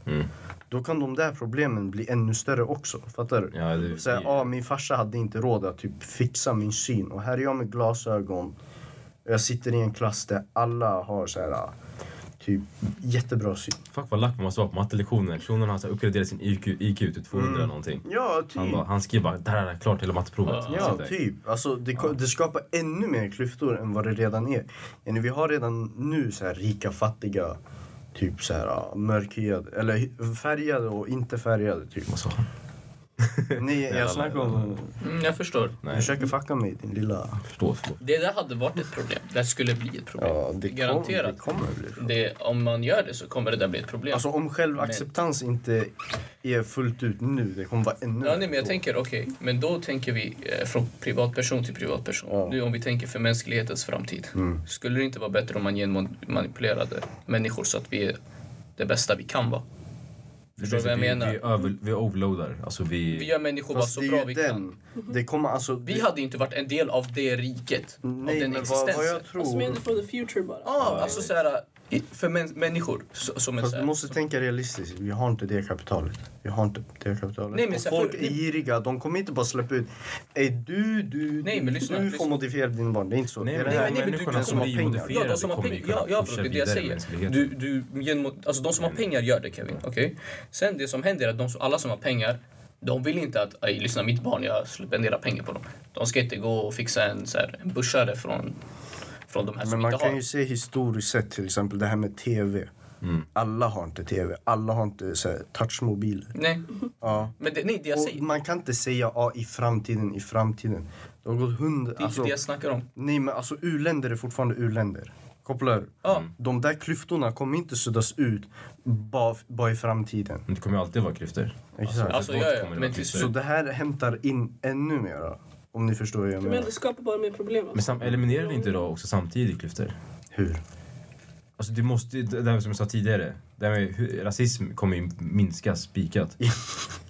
Speaker 3: då kan de där problemen bli ännu större också. Fattar du?
Speaker 1: Ja, det-
Speaker 3: så här, ah, min farsa hade inte råd att typ fixa min syn och här är jag med glasögon. Jag sitter i en klass där alla har så här, typ jättebra syn.
Speaker 1: Fuck vad lack man måste vara på mattelektionen. Personen har så här uppgraderat sin IQ, IQ till 200
Speaker 3: Mm.
Speaker 1: eller någonting.
Speaker 3: Ja, typ.
Speaker 1: Han, bara, han skrev bara där är klart hela matteprovet.
Speaker 3: Ja,
Speaker 1: Sitt där.
Speaker 3: typ. Alltså, det, ko- det skapar ännu mer klyftor än vad det redan är. Yani, Vi har redan nu så här rika, fattiga, typ så här ja, mörkhyade, eller hy- färgade och inte färgade. (laughs) Typ.
Speaker 1: Vad sa han?
Speaker 3: Nej,
Speaker 1: alla-
Speaker 3: jag snackar om...
Speaker 2: Mm, jag förstår.
Speaker 1: Nej.
Speaker 3: Du försöker fucka mig, din lilla...
Speaker 1: Förstå, förstå.
Speaker 2: Det där hade varit ett problem. Det skulle bli ett problem.
Speaker 3: Ja, det, kom, det
Speaker 2: Garanterat.
Speaker 3: kommer bli så.
Speaker 2: Det, om man gör det så kommer det där bli ett problem.
Speaker 3: Alltså om självacceptans inte är fullt ut nu, det kommer vara ännu
Speaker 2: Ja, nej, men jag
Speaker 3: då.
Speaker 2: tänker, okej, men då tänker vi eh, från privatperson till privatperson.
Speaker 3: Ja. Mm.
Speaker 2: Nu om vi tänker för mänsklighetens framtid. Skulle det inte vara bättre om man genmanipulerade människor så att vi är det bästa vi kan vara? Förstår du vad jag
Speaker 1: vi,
Speaker 2: menar?
Speaker 1: Vi, över, vi overloadar. Alltså vi...
Speaker 2: Vi gör människor bara
Speaker 3: Fast
Speaker 2: så
Speaker 3: det är
Speaker 2: bra
Speaker 3: ju
Speaker 2: vi kan.
Speaker 3: den. Det kommer alltså...
Speaker 2: Vi hade inte varit en del av det riket, av
Speaker 3: Nej,
Speaker 2: den
Speaker 3: men vad,
Speaker 2: existensen.
Speaker 3: vad jag
Speaker 4: Alltså
Speaker 3: tror...
Speaker 4: medel for the future bara.
Speaker 2: Ja, alltså så här, i- för män, människor så, som är
Speaker 3: Fast
Speaker 2: så
Speaker 3: du
Speaker 2: här,
Speaker 3: måste tänka realistiskt. Vi har inte det kapitalet. Vi har inte det kapitalet.
Speaker 2: Nej, men
Speaker 3: Och
Speaker 2: så här,
Speaker 3: folk
Speaker 2: för-
Speaker 3: är giriga. De kommer inte bara släppa ut. Ej, du, du,
Speaker 2: Nej,
Speaker 3: du,
Speaker 2: men lyssna,
Speaker 3: du
Speaker 2: lyssna.
Speaker 3: får modifiera din barn. Det är inte så.
Speaker 1: Nej,
Speaker 3: det är
Speaker 1: men
Speaker 3: det här
Speaker 2: nej, men du-
Speaker 1: människorna
Speaker 2: du-
Speaker 1: som
Speaker 3: du-
Speaker 1: vi
Speaker 3: pengar.
Speaker 1: modifierar
Speaker 2: Ja, de som har
Speaker 1: kommer ju
Speaker 2: pengar.
Speaker 1: kunna
Speaker 2: Ja, ja,
Speaker 1: pusha
Speaker 2: bro, det är det jag
Speaker 1: vidare
Speaker 2: säger.
Speaker 1: mänskligheten.
Speaker 2: Du, du, genom, alltså de som har pengar gör det, Kevin. Okej? Sen det som händer är att de, som- alla som har pengar, de vill inte att "Aj, lyssna mitt barn, jag spenderar pengar på dem. De ska inte gå och fixa en, så här, en börsare från, från de här
Speaker 3: Men
Speaker 2: som
Speaker 3: man
Speaker 2: inte Alltså, har.
Speaker 3: kan ju se historiskt sett till exempel det här med tv.
Speaker 2: Mm.
Speaker 3: Alla har inte tv. Alla har inte så här, touchmobiler.
Speaker 2: Nej,
Speaker 3: Ja.
Speaker 2: men det, nej, det jag säger,
Speaker 3: Och man kan inte säga ja, i framtiden, i framtiden. Det har gått hundra...
Speaker 2: det är inte
Speaker 3: Alltså,
Speaker 2: det jag snackar om.
Speaker 3: nej, men alltså u-länder är fortfarande u-länder. Kopplar
Speaker 2: Ja.
Speaker 3: De där klyftorna kommer inte suddas ut bara, bara i framtiden.
Speaker 1: Men det kommer ju alltid vara klyftor.
Speaker 3: Exakt.
Speaker 2: Alltså,
Speaker 1: bort
Speaker 2: ja, ja,
Speaker 1: kommer det
Speaker 2: men
Speaker 1: vara
Speaker 2: till
Speaker 1: klyftor.
Speaker 3: Så det här hämtar in ännu mer om ni förstår vad jag
Speaker 4: Men
Speaker 3: menar.
Speaker 4: det skapar bara mer problem.
Speaker 1: Men
Speaker 4: Alltså.
Speaker 1: sam, eliminerar vi inte då också samtidigt klyftor?
Speaker 3: Hur?
Speaker 1: Alltså det måste ju- det där som jag sa tidigare. Det här med hur, rasism kommer ju minska spikat.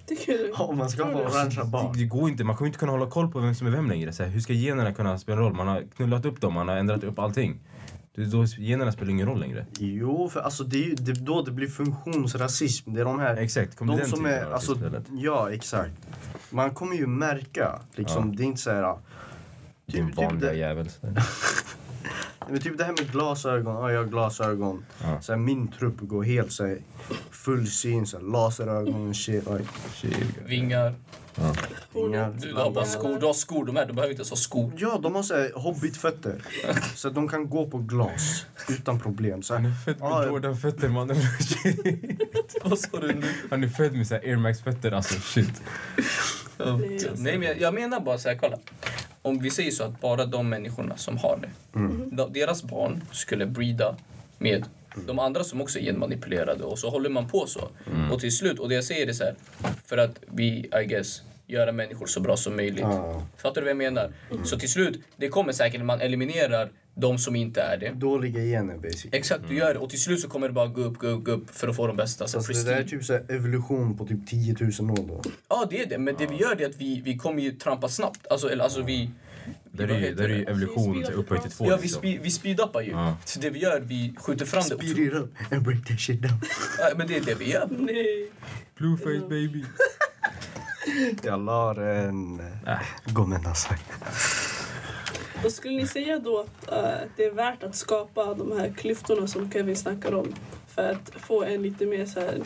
Speaker 4: Tycker du?
Speaker 3: Om man ska ha orangea
Speaker 1: Det,
Speaker 3: barn.
Speaker 1: det går inte, man kommer inte kunna hålla koll på vem som är vem längre. Så här, hur ska generna kunna spela en roll? Man har knullat upp dem, man har ändrat upp allting. Det, då, generna spelar ingen roll längre.
Speaker 3: Jo, för alltså det är ju det, är då det blir funktionsrasism. Det är de här...
Speaker 1: Exakt, kommer
Speaker 3: De
Speaker 1: den
Speaker 3: som
Speaker 1: typen
Speaker 3: är,
Speaker 1: av
Speaker 3: alltså,
Speaker 1: rasism istället?
Speaker 3: ja exakt. Man kommer ju märka, liksom, det är inte så här...
Speaker 1: Din
Speaker 3: typ
Speaker 1: vanliga
Speaker 3: det- (laughs)
Speaker 1: jävel. så där.
Speaker 3: Men typ det här med glasögon, ja jag har glasögon.
Speaker 1: Ja.
Speaker 3: Så här, min trupp går helt så här, full syn, så här, laserögon och shit. Oj,
Speaker 2: Vingar.
Speaker 3: inga
Speaker 2: Du, du har bara
Speaker 3: lampor.
Speaker 2: skor. Du har skor, de här. Du behöver inte ens ha skor.
Speaker 3: Ja, de har så här hobbitfötter. så att de kan gå på glas utan problem. Så här,
Speaker 1: Fett med
Speaker 3: ja,
Speaker 1: Jordan-fötter mannen.
Speaker 2: Vad sa du nu?
Speaker 1: (laughs) Han är född med så här Air Max-fötter alltså shit.
Speaker 2: Ja.
Speaker 4: Nej, alltså.
Speaker 2: Nej, men jag, jag menar bara så här, kolla. Om vi säger så att bara de människorna som har det,
Speaker 3: Mm.
Speaker 2: de- deras barn skulle breeda med de andra som också är genmanipulerade och så håller man på så.
Speaker 3: Mm.
Speaker 2: Och till slut, och det jag säger är så här, för att vi, I guess, göra människor så bra som möjligt.
Speaker 3: Ja.
Speaker 2: Fattar du vad jag menar? Så till slut, det kommer säkert, man eliminerar de som inte är det.
Speaker 3: dåliga gener basically.
Speaker 2: Exakt, du gör det. Och till slut så kommer det bara gå upp, gå upp, gå upp för att få de bästa. Så
Speaker 3: Alltså, Mm. det där är
Speaker 2: prestige.
Speaker 3: typ så här evolution på typ 10 000 år då.
Speaker 2: Ja, det är det. Men det vi gör det är att vi, vi kommer ju trampa snabbt. Alltså, eller, alltså vi...
Speaker 1: Där
Speaker 2: vad
Speaker 1: är ju,
Speaker 2: heter
Speaker 1: där är ju
Speaker 2: det?
Speaker 1: evolution upphöjt till två.
Speaker 2: Ja, vi,
Speaker 1: liksom.
Speaker 2: spe, vi speeduppar ju.
Speaker 1: Ja.
Speaker 2: Så det vi gör, vi skjuter fram det.
Speaker 3: Speed it up (laughs) and break that shit down.
Speaker 2: Ja, men det är det vi gör.
Speaker 4: Nej.
Speaker 1: Blueface baby.
Speaker 3: Jag la en... Gomenasai.
Speaker 4: Och skulle ni säga då att eh, det är värt att skapa de här klyftorna som Kevin snackar om för att få en lite mer så här,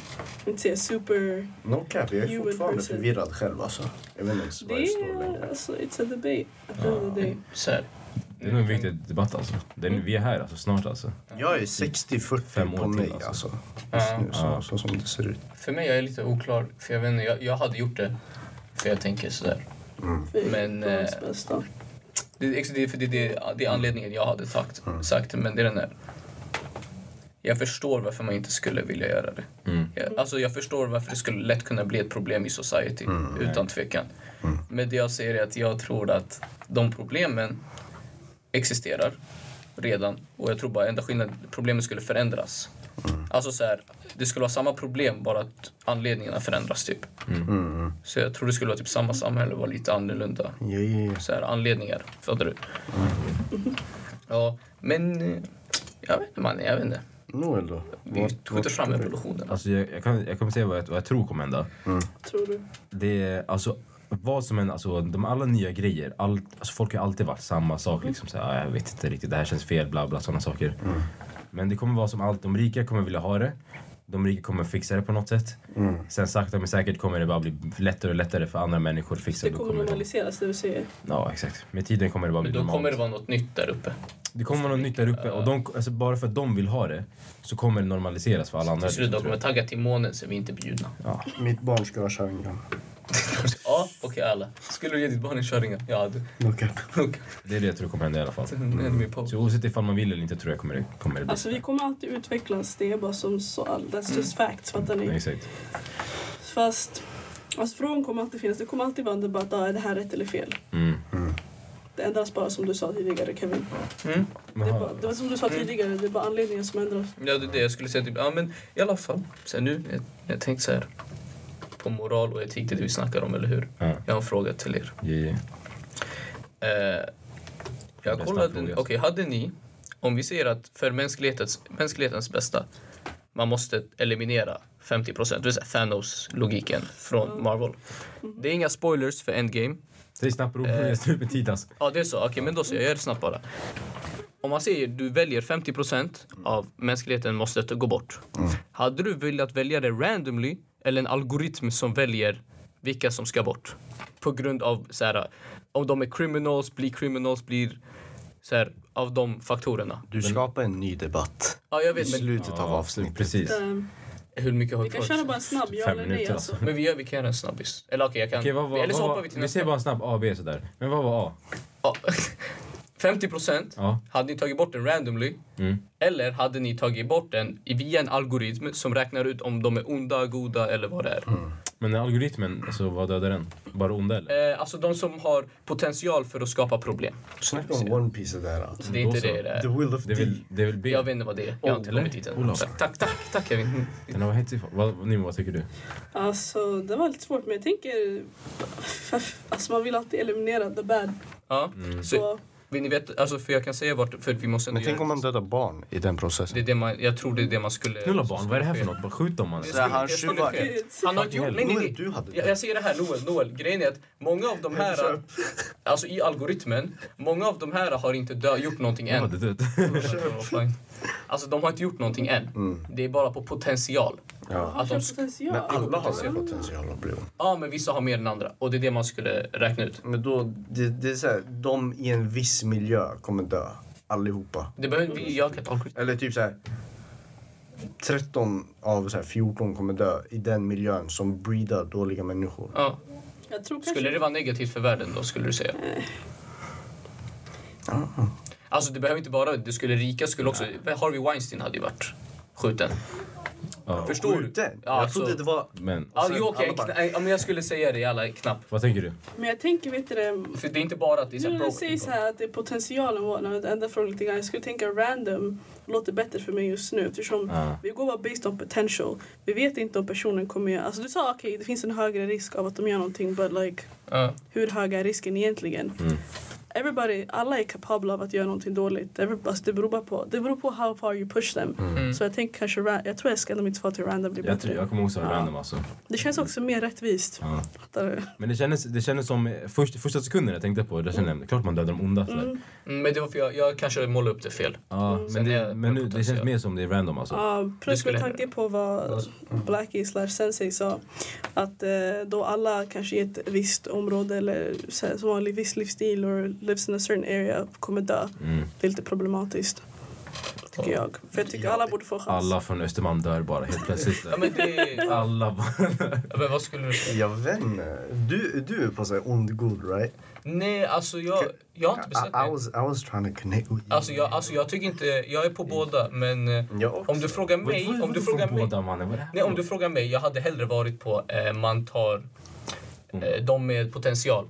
Speaker 4: inte säga super...
Speaker 3: No cap, jag är
Speaker 4: Human
Speaker 3: fortfarande
Speaker 4: person.
Speaker 3: förvirrad själv alltså. Jag vet inte ens
Speaker 4: Det
Speaker 3: vad jag står längre.
Speaker 4: är alltså, it's a debate at the end of the day.
Speaker 2: Så här.
Speaker 1: Det är nog en viktig debatt alltså. Den, vi är här alltså, snart alltså.
Speaker 3: Jag är 60-40
Speaker 1: Fem år
Speaker 3: på
Speaker 1: till,
Speaker 3: mig
Speaker 1: alltså.
Speaker 3: alltså.
Speaker 2: Ja.
Speaker 3: Just nu, så, så som det ser ut.
Speaker 2: Mm. För mig jag är lite oklar, för jag vet inte, jag, jag hade gjort det. För jag tänker sådär.
Speaker 4: För
Speaker 2: Men,
Speaker 4: barns
Speaker 2: eh,
Speaker 4: bästa.
Speaker 2: Det, är ex- det, är- för det, det, det är anledningen jag hade sagt, sagt, men det är den där. Jag förstår varför man inte skulle vilja göra det.
Speaker 1: Mm.
Speaker 2: Jag, alltså jag förstår varför det skulle lätt kunna bli ett problem i society,
Speaker 3: Mm,
Speaker 2: utan tvekan. Men det jag säger är att jag tror att de problemen existerar redan och jag tror bara enda skillnaden, problemen skulle förändras.
Speaker 3: Mm.
Speaker 2: Alltså så här, det skulle vara samma problem bara att anledningarna förändras typ.
Speaker 3: Mm.
Speaker 2: Så jag tror det skulle vara typ samma samhälle, vara lite annorlunda
Speaker 3: Ja, ja, ja.
Speaker 2: så här, anledningar. Fattar du?
Speaker 3: Mm.
Speaker 2: Ja, men eh, jag vet inte man, jag vet inte.
Speaker 3: Nåväl då.
Speaker 2: Vi
Speaker 3: Vart-
Speaker 2: skjuter
Speaker 3: vart-
Speaker 2: fram evolutionen.
Speaker 1: Alltså jag, jag, kan, jag kommer säga vad jag, vad jag tror kommer hända.
Speaker 4: Tror du?
Speaker 1: Det är alltså vad som än, alltså de alla nya grejer, allt, alltså folk har alltid varit samma sak
Speaker 4: Mm.
Speaker 1: liksom så här, "Ah, jag vet inte riktigt, det här känns fel, bla bla sådana saker. Men det kommer vara som allt, de rika kommer vilja ha det. De rika kommer fixa det på något sätt.
Speaker 4: Mm.
Speaker 1: Sen sakta men säkert kommer det bara bli lättare och lättare för andra människor att fixa
Speaker 4: Det
Speaker 1: Då
Speaker 4: kommer liksom- normaliseras det du säger.
Speaker 1: Ja, exakt. Med tiden kommer det bara bli
Speaker 2: Men då
Speaker 1: normalt.
Speaker 2: kommer det vara något nytt där uppe.
Speaker 1: Det kommer vara något nytt där uppe och de, alltså bara för att de vill ha det så kommer det normaliseras för alla andra.
Speaker 2: Till slut de
Speaker 1: liksom, tror
Speaker 2: kommer
Speaker 1: jag.
Speaker 2: tagga till månen så vi inte är bjudna.
Speaker 3: Mitt barn ska ha kärringar.
Speaker 2: Ja, okej alla. Skulle du ge ditt barn en kärringa? Ja, du. (laughs)
Speaker 3: Okej.
Speaker 2: Okej.
Speaker 1: Det är det jag tror kommer hända i alla fall.
Speaker 2: En enemy post.
Speaker 1: Så oavsett ifall man vill eller inte tror jag kommer det, kommer det bli.
Speaker 4: Alltså vi kommer alltid utvecklas, det är bara som så. That's just
Speaker 1: Mm.
Speaker 4: facts, fattar
Speaker 1: Ja,
Speaker 4: ni?
Speaker 1: Exakt.
Speaker 4: Fast, alltså frågan kommer alltid finnas. Det kommer alltid vara en debatt, ah, är det här rätt eller fel?
Speaker 1: Mm.
Speaker 4: Det ändras bara som du sa tidigare Kevin.
Speaker 2: Mm.
Speaker 4: Det, är
Speaker 1: Jaha.
Speaker 4: bara, det var som du sa tidigare, det är bara anledningen som ändras.
Speaker 2: Ja, det är det jag skulle säga. Typ, ja, men i alla fall. Sen nu, jag, jag tänkte så här. På moral och etik, det är det vi snackar om, eller hur?
Speaker 1: Ja.
Speaker 2: Jag har en fråga till er.
Speaker 1: Ja, ja.
Speaker 2: Eh, jag
Speaker 1: Bästa
Speaker 2: kollade,
Speaker 1: fråga.
Speaker 2: okej, hade ni, om vi säger att för mänsklighetens, mänsklighetens bästa, man måste eliminera 50 procent, det vill säga Thanos-logiken från Marvel. Det är inga spoilers för Endgame.
Speaker 1: Säg snabbt bror, jag är slut med tid alltså.
Speaker 2: Ja, det är så. Okej, men då så, jag gör det snabbt bara. Om man säger du väljer 50 procent av mänskligheten måste gå bort.
Speaker 1: Mm.
Speaker 2: Hade du velat välja det randomly eller en algoritm som väljer vilka som ska bort? På grund av så här, om de är criminals, blir criminals, blir så här, av de faktorerna.
Speaker 3: Du skapar en ny debatt
Speaker 2: Ja, jag
Speaker 3: i
Speaker 2: vet, men
Speaker 3: slutet av avsnittet.
Speaker 1: Precis.
Speaker 2: Mm.
Speaker 4: Ehm,
Speaker 2: hur mycket har
Speaker 4: vi
Speaker 2: vi
Speaker 4: kan köra bara
Speaker 2: kvar?
Speaker 4: en snabb ja
Speaker 1: Fem
Speaker 4: eller nej
Speaker 1: minuter,
Speaker 4: alltså.
Speaker 2: Men vi gör, vi kan göra en snabbis. Eller okej, jag kan.
Speaker 1: Okej, vad var,
Speaker 2: eller så
Speaker 1: vad
Speaker 2: hoppar
Speaker 1: var,
Speaker 2: vi till
Speaker 1: vi
Speaker 2: nästa.
Speaker 1: ser bara en snabb A, B sådär. Men vad var A?
Speaker 2: Ja. (laughs) 50 procent.
Speaker 1: Ja.
Speaker 2: Hade ni tagit bort den randomly?
Speaker 1: Mm.
Speaker 2: Eller hade ni tagit bort den i- via en algoritm som räknar ut om de är onda, goda eller vad det är?
Speaker 3: Mm.
Speaker 1: Men den algoritmen, alltså vad dödar den? Bara onda eller?
Speaker 2: Eh, alltså de som har potential för att skapa problem.
Speaker 3: Snacka om One Piece där alltså.
Speaker 2: Det är inte
Speaker 1: Då så.
Speaker 2: det det
Speaker 3: The
Speaker 2: är.
Speaker 3: will of
Speaker 1: Det är väl,
Speaker 3: D.
Speaker 1: det är väl B?
Speaker 2: Jag vet inte vad det är. Jag har inte
Speaker 1: Eller?
Speaker 2: kommit dit än.
Speaker 1: Olof.
Speaker 2: Så, Tack, tack, tack Kevin. Mm.
Speaker 1: Men vad heter vad, Nimo, vad tycker du?
Speaker 4: Alltså det var lite svårt men jag tänker, alltså man vill alltid eliminera the bad.
Speaker 2: Ja.
Speaker 1: Mm.
Speaker 2: Så,
Speaker 4: Så
Speaker 2: vill ni veta, alltså, för jag kan säga vart, för vi måste ändå
Speaker 3: Men tänk
Speaker 2: göra-
Speaker 3: om man dödar barn i den
Speaker 2: det är
Speaker 3: processen.
Speaker 2: det man, jag tror det är det man skulle...
Speaker 1: Knulla
Speaker 2: som
Speaker 1: barn, vad är det här för
Speaker 2: skulle
Speaker 1: något? Bara skjut dem alltså.
Speaker 3: Så här, han
Speaker 2: Det skulle
Speaker 3: tjuvar
Speaker 2: ske.
Speaker 3: ett.
Speaker 2: Han har inte gjort... Nej, nej, nej.
Speaker 3: Noel, du hade
Speaker 2: Jag,
Speaker 3: det.
Speaker 2: jag säger det här, Noel, Noel. Grejen är att många av de här, alltså i algoritmen, många av de här har inte dö, gjort någonting
Speaker 1: Ja,
Speaker 2: än.
Speaker 1: det
Speaker 2: (laughs)
Speaker 1: är dött.
Speaker 2: Alltså de har inte gjort någonting än. Det är bara på potential.
Speaker 3: Ja.
Speaker 4: han
Speaker 2: att de
Speaker 4: kör
Speaker 2: sk-
Speaker 4: potential.
Speaker 3: Alltså, Men alla har väl potential att bli ond?
Speaker 2: Ja, men vissa har mer än andra och det är det man skulle räkna ut.
Speaker 3: Men då, det, det är så här, de i en viss miljö kommer dö. Allihopa.
Speaker 2: Det behöver vi göra ett algoritm.
Speaker 3: Eller typ så här. 13 av så här 14 kommer dö i den miljön som breedar dåliga människor.
Speaker 2: Ja.
Speaker 4: Jag tror kanske
Speaker 2: Skulle det vara negativt för världen då, skulle du säga? Alltså det behöver inte bara, det skulle rika skulle också, Harvey Weinstein hade ju varit skjuten.
Speaker 1: Ja.
Speaker 2: Förstår du?
Speaker 3: Skjuten?
Speaker 2: Ja,
Speaker 3: Jag trodde
Speaker 2: alltså-
Speaker 3: det var...
Speaker 1: Men
Speaker 2: Ja,
Speaker 3: sen
Speaker 2: jo, okej.
Speaker 3: alla bara-
Speaker 2: kna- ja, men jag skulle säga det, alla knapp.
Speaker 1: vad tänker du?
Speaker 4: Men jag tänker, vet du det,
Speaker 2: För det är inte bara att det är så
Speaker 4: nu
Speaker 2: här
Speaker 4: när du
Speaker 2: broken
Speaker 4: säger så
Speaker 2: people.
Speaker 4: här att det är potentialen var när jag ändrar frågan lite grann. Jag skulle tänka random låter bättre för mig just nu eftersom
Speaker 1: Ja.
Speaker 4: vi går bara based on potential. Vi vet inte om personen kommer göra... Alltså du sa okej, det finns en högre risk av att de gör någonting but like
Speaker 2: Ja.
Speaker 4: hur hög är risken egentligen?
Speaker 1: Mm.
Speaker 4: Everybody, alla är kapabla av att göra någonting dåligt. Every, alltså det, beror bara på, det beror på how far you push them.
Speaker 2: mm.
Speaker 4: Så jag tänker kanske, ra- jag tror jag ska ändra mitt svar till random blir
Speaker 1: Mm. Jag,
Speaker 4: bättre.
Speaker 1: tror, jag kommer också ha
Speaker 4: Ja.
Speaker 1: random alltså.
Speaker 4: Det känns också mer rättvist.
Speaker 1: Ja.
Speaker 4: Fattar du?
Speaker 1: Men det kändes, det kändes som, eh, först, första sekunden jag tänkte på det, jag kände jag klart man dödar de onda. sådär.
Speaker 2: Mm, Men det var för jag, jag kanske målade upp det fel.
Speaker 1: Ja, men
Speaker 2: Sen är
Speaker 1: det,
Speaker 2: jag
Speaker 1: men nu, det
Speaker 2: potentiell.
Speaker 1: känns mer som det är random alltså.
Speaker 4: Ja, plus
Speaker 2: typ. skulle Mm.
Speaker 4: med
Speaker 2: hända.
Speaker 4: tanke på vad Blackie slash Sensei sa att eh, då alla kanske i ett visst område eller så här, som har en viss livsstil och lives in a certain area kommer dö.
Speaker 1: Mm.
Speaker 4: Det är lite problematiskt. Tycker jag. För jag tycker alla borde få chans.
Speaker 1: Alla från Östermalm dör bara helt
Speaker 2: (laughs)
Speaker 1: plötsligt.
Speaker 2: Ja, men det...
Speaker 1: Alla bara...
Speaker 2: ja, men vad skulle du säga?
Speaker 3: Jag vet inte. Du, du är på så här ond god right?
Speaker 2: Nej, alltså jag, jag har inte bestämt
Speaker 3: I, I,
Speaker 2: mig.
Speaker 3: was, I was trying to connect with you.
Speaker 2: Alltså jag, alltså jag tycker inte... Jag är på båda, men... eh,
Speaker 3: Jag också.
Speaker 2: Om du frågar
Speaker 1: Wait,
Speaker 2: mig...
Speaker 1: vad-
Speaker 2: Om du
Speaker 1: vad
Speaker 2: frågar
Speaker 1: för
Speaker 2: mig...
Speaker 1: båda, mannen? Vad är det här?
Speaker 2: Nej, om du frågar mig, jag hade hellre varit på eh, man tar eh, de med potential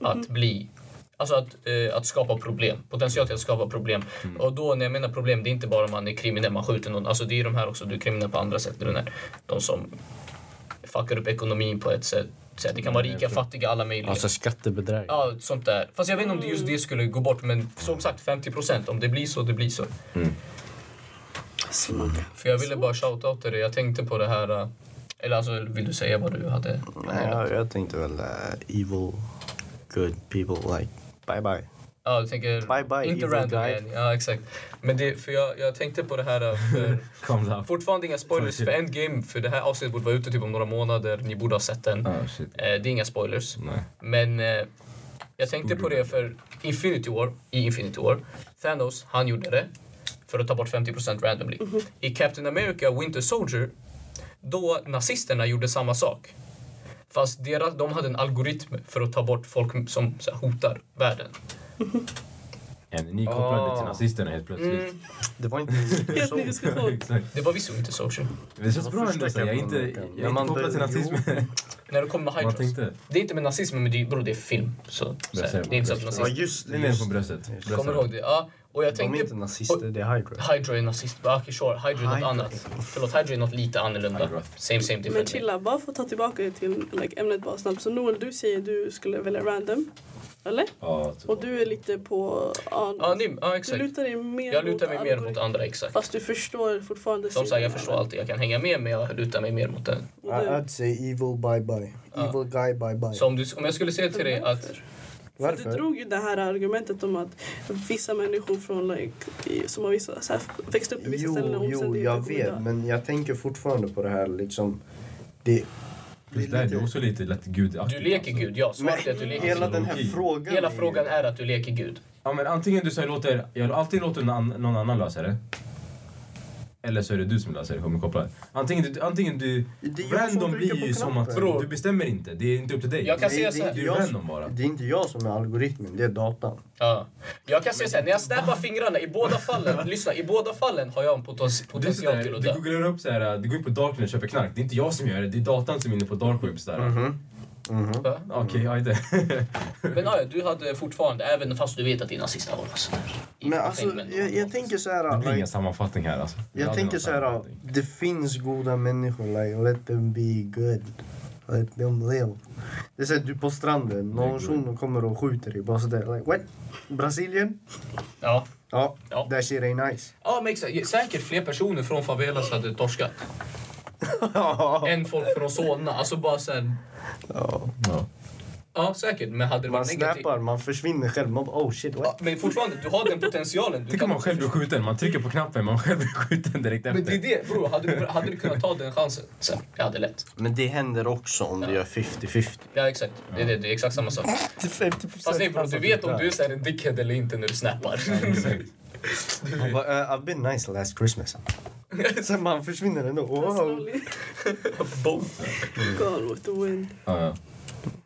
Speaker 2: att bli Alltså att, eh, att skapa problem. Potential till att skapa problem. Och då när jag menar problem, det är inte bara om man är kriminell, man skjuter någon. Alltså det är de här också, du är kriminell på andra sätt. Det är den här, de som fuckar upp ekonomin på ett sätt. Så här, det kan vara rika, fattiga, alla möjliga.
Speaker 5: Alltså skattebedrägeri.
Speaker 2: Ja, sånt där. Fast jag vet inte om det just det skulle gå bort, men som sagt 50 procent. Om det blir så, det blir så.
Speaker 4: Smaka.
Speaker 2: För jag ville bara shoutouta dig. Jag tänkte på det här... eh, Eller alltså, vill du säga vad du hade?
Speaker 3: Nej, jag, jag tänkte väl eh, evil good people like bye bye.
Speaker 2: Ja, du tänker...
Speaker 3: Bye bye,
Speaker 2: inte
Speaker 3: evil
Speaker 2: random
Speaker 3: guy.
Speaker 2: igen. Ja, exakt. Men det, för jag, jag tänkte på det här... eh, För,
Speaker 1: Kom då.
Speaker 2: fortfarande inga spoilers för Endgame, för det här avsnittet borde vara ute typ om några månader. Ni borde ha sett den.
Speaker 1: Ah, shit.
Speaker 2: Eh, Det är inga spoilers.
Speaker 1: Nej.
Speaker 2: Men eh, jag tänkte på det för Infinity War, i Infinity War, Thanos, han gjorde det för att ta bort 50% randomly. I Captain America Winter Soldier, då nazisterna gjorde samma sak. Fast deras, de hade en algoritm för att ta bort folk som så här, hotar världen.
Speaker 1: Ja, Ni kopplade
Speaker 3: Ah.
Speaker 1: till nazisterna helt plötsligt.
Speaker 2: (laughs)
Speaker 3: Det var inte
Speaker 4: Helt ny
Speaker 2: Mm.
Speaker 1: (laughs)
Speaker 4: diskussion.
Speaker 1: Exakt.
Speaker 2: Det var visst Winter Soldier.
Speaker 1: Det känns bra ändå. så här. Jag är inte,
Speaker 3: När
Speaker 1: jag är inte
Speaker 3: man
Speaker 1: kopplad till
Speaker 3: dör- jo.
Speaker 1: (laughs) nazismen.
Speaker 2: När det kommer med
Speaker 1: Man
Speaker 2: Hydras.
Speaker 1: tänkte...
Speaker 2: Det är inte med nazism, men det, är- bro, det är film. Så, så här, det är inte så att
Speaker 3: Ja,
Speaker 2: nazister...
Speaker 3: just
Speaker 1: Det
Speaker 3: det.
Speaker 1: är ner
Speaker 3: Just.
Speaker 1: på
Speaker 3: det.
Speaker 1: bröstet. bröstet.
Speaker 2: Kommer du ihåg det? Ja. Och jag
Speaker 3: De är
Speaker 2: tänkte...
Speaker 3: inte nazister, det är Hydra.
Speaker 2: Hydra är nazist. Ah, Okej, sure. Hydra är något
Speaker 3: Hydra.
Speaker 2: annat. Förlåt, Hydra är något lite annorlunda.
Speaker 1: Hydra.
Speaker 2: Same, same different.
Speaker 4: Men chilla, bara för att ta tillbaka det till like, ämnet bara snabbt. Så Noel, du säger du skulle välja random. Eller?
Speaker 1: Ja, så-
Speaker 4: Och du är lite på... Ja,
Speaker 2: Ja, nim, ja,
Speaker 4: du
Speaker 2: exakt.
Speaker 4: lutar dig mer
Speaker 2: Jag lutar mig mer mot
Speaker 4: algoritm-
Speaker 2: andra, exakt.
Speaker 4: Fast du förstår fortfarande...
Speaker 2: Som sagt,
Speaker 4: sidan
Speaker 2: jag
Speaker 4: av
Speaker 2: förstår
Speaker 4: den.
Speaker 2: alltid. Jag kan hänga med, men jag lutar mig mer mot den.
Speaker 4: Och du-
Speaker 3: say evil bye bye.
Speaker 2: Ja.
Speaker 3: Evil guy bye bye.
Speaker 2: Så om, du, om jag skulle säga till dig att...
Speaker 4: För du drog ju det här argumentet om att vissa människor från, like, i- som har vissa, så här, växt upp i vissa ställen och
Speaker 3: Jo, jo,
Speaker 4: omständigheter
Speaker 3: jag
Speaker 4: kommer dö.
Speaker 3: vet. Men jag tänker fortfarande på det här liksom. Det...
Speaker 1: Plus där, det är också lite lätt gudaktigt.
Speaker 2: Du leker
Speaker 1: alltså.
Speaker 2: Gud, ja. Svaret är att du
Speaker 3: Men
Speaker 2: leker
Speaker 3: hela
Speaker 2: Gud.
Speaker 3: den här
Speaker 1: Gud.
Speaker 3: frågan.
Speaker 2: Hela
Speaker 3: är ju-
Speaker 2: frågan är att du leker Gud.
Speaker 1: Ja, men antingen du säger låter, jag alltid låter någon ann- någon annan lösa det. Eller så är det du som löser det, kommer koppla. Antingen du, antingen du
Speaker 3: Det är jag som
Speaker 1: random
Speaker 3: trycker
Speaker 1: blir
Speaker 3: på
Speaker 1: ju som att
Speaker 3: knappen.
Speaker 2: Bro.
Speaker 1: du bestämmer inte, det är inte upp till dig.
Speaker 2: Jag kan
Speaker 3: Nej,
Speaker 2: säga
Speaker 3: det
Speaker 2: så
Speaker 3: är
Speaker 1: Du
Speaker 2: här.
Speaker 1: är
Speaker 3: Jag-
Speaker 1: random bara.
Speaker 3: Det är inte jag som är algoritmen, det är datan.
Speaker 2: Ja. Jag kan säga så här, när jag snappar fingrarna, i båda
Speaker 3: (laughs)
Speaker 2: fallen, lyssna, i båda fallen har jag en poten-
Speaker 1: Du, är sådär,
Speaker 2: potential till att
Speaker 1: du
Speaker 2: dö.
Speaker 1: googlar upp så här, du går in på darknet och köper knark. Det är inte jag som gör det, det är datan som är inne på dark webs där.
Speaker 3: Mhm.
Speaker 2: Va?
Speaker 1: Okej, ajde.
Speaker 2: Men ja, du hade fortfarande, även fast du vet att dina nazister var sådär. i
Speaker 3: Men alltså,
Speaker 2: filmen.
Speaker 3: jag, jag tänker så
Speaker 1: Det
Speaker 3: här...
Speaker 1: blir
Speaker 3: like,
Speaker 1: ingen sammanfattning här alltså. Det är
Speaker 3: Jag
Speaker 1: aldrig
Speaker 3: tänker
Speaker 1: någon
Speaker 3: så här,
Speaker 1: sammanfattning.
Speaker 3: det finns goda människor, like, let them be good. Let them live. Det är såhär, du är på stranden,
Speaker 1: Det är
Speaker 3: någon shuno kommer och skjuter dig. Bara sådär, like what? Brasilien?
Speaker 2: Ja.
Speaker 3: Ja,
Speaker 2: Ja.
Speaker 3: that shit
Speaker 1: (laughs)
Speaker 3: ain't nice.
Speaker 2: Ja, men exakt. Säkert fler personer från favelas hade torskat. Än folk från Solna. Alltså bara sen...
Speaker 3: Ja.
Speaker 1: Ja.
Speaker 2: Ja, säkert. Men hade det
Speaker 3: Man
Speaker 2: varit negativt...
Speaker 3: snappar, man försvinner själv. Man bara, oh shit,
Speaker 2: Ja,
Speaker 3: what?
Speaker 2: men fortfarande, du har den potentialen. Du
Speaker 1: Tänk om man själv blir skjuten, man trycker på knappen, man själv blir skjuten direkt efter.
Speaker 2: Men det är det, bror. Hade, du- hade du kunnat ta den chansen? Sen, jag hade lätt.
Speaker 3: Men det händer också om du gör 50-50.
Speaker 2: Ja, exakt. Det är, det, det är exakt samma sak. Fast nej, bror. Du vet om du är så här en dickhead eller inte när du snappar.
Speaker 1: Exakt.
Speaker 3: Man bara, eh, I've been nice last Christmas. Sen man försvinner ändå. Wow.
Speaker 4: (laughs) Slowly
Speaker 2: Boom.
Speaker 4: gone Alltså, with the wind.
Speaker 1: Ja, ja.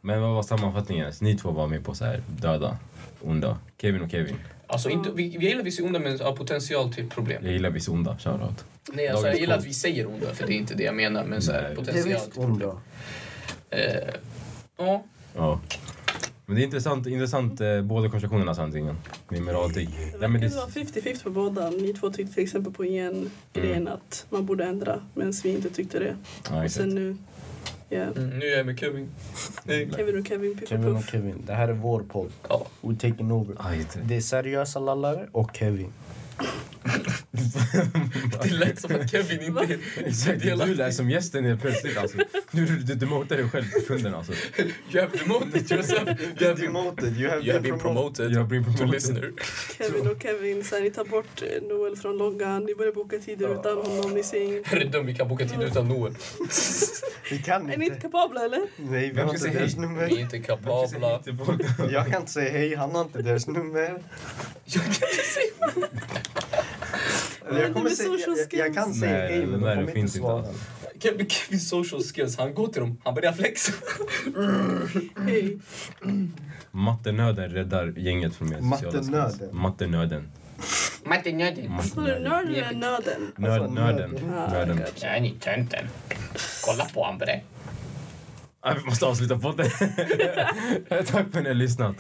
Speaker 1: Men vad var sammanfattningen? ens? Ni två var med på så här döda, onda. Kevin och Kevin.
Speaker 2: Alltså, inte, vi, vi gillar vissa onda, men har potential till problem.
Speaker 1: Jag gillar viss onda. Shoutout.
Speaker 2: Nej, alltså, jag gillar att vi säger onda, för det är inte det jag menar. Men så här,
Speaker 1: Nej.
Speaker 3: Det är
Speaker 2: potential
Speaker 3: visst
Speaker 2: till...
Speaker 3: hon då.
Speaker 2: Eh, ja.
Speaker 1: Ja. Men det är intressant, intressant eh, båda konversationerna samtidigt. Med moraltik.
Speaker 4: Det
Speaker 1: Nej, men
Speaker 4: verkar
Speaker 1: det,
Speaker 4: vara 50-50 på båda. Ni två tyckte till exempel på igen grejen att man borde ändra medan vi inte tyckte det.
Speaker 1: Mm. ja,
Speaker 4: Och sen
Speaker 1: exakt.
Speaker 4: nu, ja.
Speaker 2: Mm, nu är jag med Kevin. Nej.
Speaker 4: Kevin och Kevin, Piff och
Speaker 3: Kevin och
Speaker 4: Puff.
Speaker 3: Kevin, det här är vår podd.
Speaker 2: Ja.
Speaker 3: We're taking over.
Speaker 1: Aj, det-
Speaker 3: Det är seriösa lallare och Kevin.
Speaker 2: Det lät som att Kevin inte
Speaker 1: Exakt, du lät som gästen helt plötsligt alltså. Du, du, du demotar dig själv till kunden alltså.
Speaker 2: You have demoted yourself. You have been,
Speaker 3: demoted. You have
Speaker 2: you have been promoted
Speaker 1: Jag blir
Speaker 2: to
Speaker 1: på
Speaker 2: listener.
Speaker 4: Kevin och Kevin, så här, ni tar bort eh, Noel från loggan, ni börjar boka tider utan honom, ni ser ingen...
Speaker 2: Herre dum, vi kan boka tid utan Noel.
Speaker 3: Vi kan
Speaker 4: Är ni inte
Speaker 3: inte.
Speaker 4: kapabla eller?
Speaker 3: Nej, vi
Speaker 1: Vem
Speaker 3: har
Speaker 1: ska
Speaker 3: inte
Speaker 1: säga
Speaker 3: deras
Speaker 1: hej?
Speaker 2: Vi är
Speaker 3: nummer.
Speaker 2: inte kapabla.
Speaker 3: Jag kan inte säga hej, han har inte deras nummer.
Speaker 2: Jag kan inte säga
Speaker 3: Eller
Speaker 4: Men
Speaker 3: jag, kommer
Speaker 4: det är
Speaker 3: säga,
Speaker 4: social
Speaker 3: jag, jag kan
Speaker 1: skills.
Speaker 3: säga
Speaker 1: Nej,
Speaker 3: hej,
Speaker 1: det
Speaker 3: men
Speaker 1: där typ.
Speaker 3: de kommer inte
Speaker 1: finns inte
Speaker 3: svara.
Speaker 1: alls.
Speaker 2: Kevin, Kevin social skills, han går till dem, han börjar flexa.
Speaker 4: Hej.
Speaker 1: Mattenöden räddar gänget från mer sociala skills.
Speaker 3: Mattenöden?
Speaker 1: Mattenöden.
Speaker 2: Martin, jag är
Speaker 4: Var det
Speaker 1: Mattenöden.
Speaker 4: nörden eller nöden? Ah,
Speaker 1: Nörd,
Speaker 3: Alltså,
Speaker 1: nörden.
Speaker 3: nörden.
Speaker 1: Nörden.
Speaker 2: Jag är ni tönten. Kolla på honom bre.
Speaker 1: Ah, vi måste avsluta (laughs) podden. Tack för att ni har lyssnat.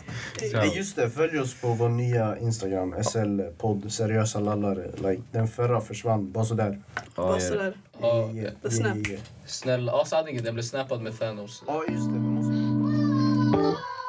Speaker 3: Nej, just det, följ oss på vår nya Instagram, SL-podd, seriösa lallare. Like, den förra försvann, bara sådär.
Speaker 1: Ja,
Speaker 4: Bara
Speaker 1: ja.
Speaker 4: sådär.
Speaker 2: Ja,
Speaker 3: Yeah,
Speaker 4: The
Speaker 3: yeah,
Speaker 4: snap.
Speaker 3: yeah.
Speaker 2: alltså, Snälla, ja sanningen, den blev snappad med Thanos.
Speaker 3: Ja, just det. Vi måste...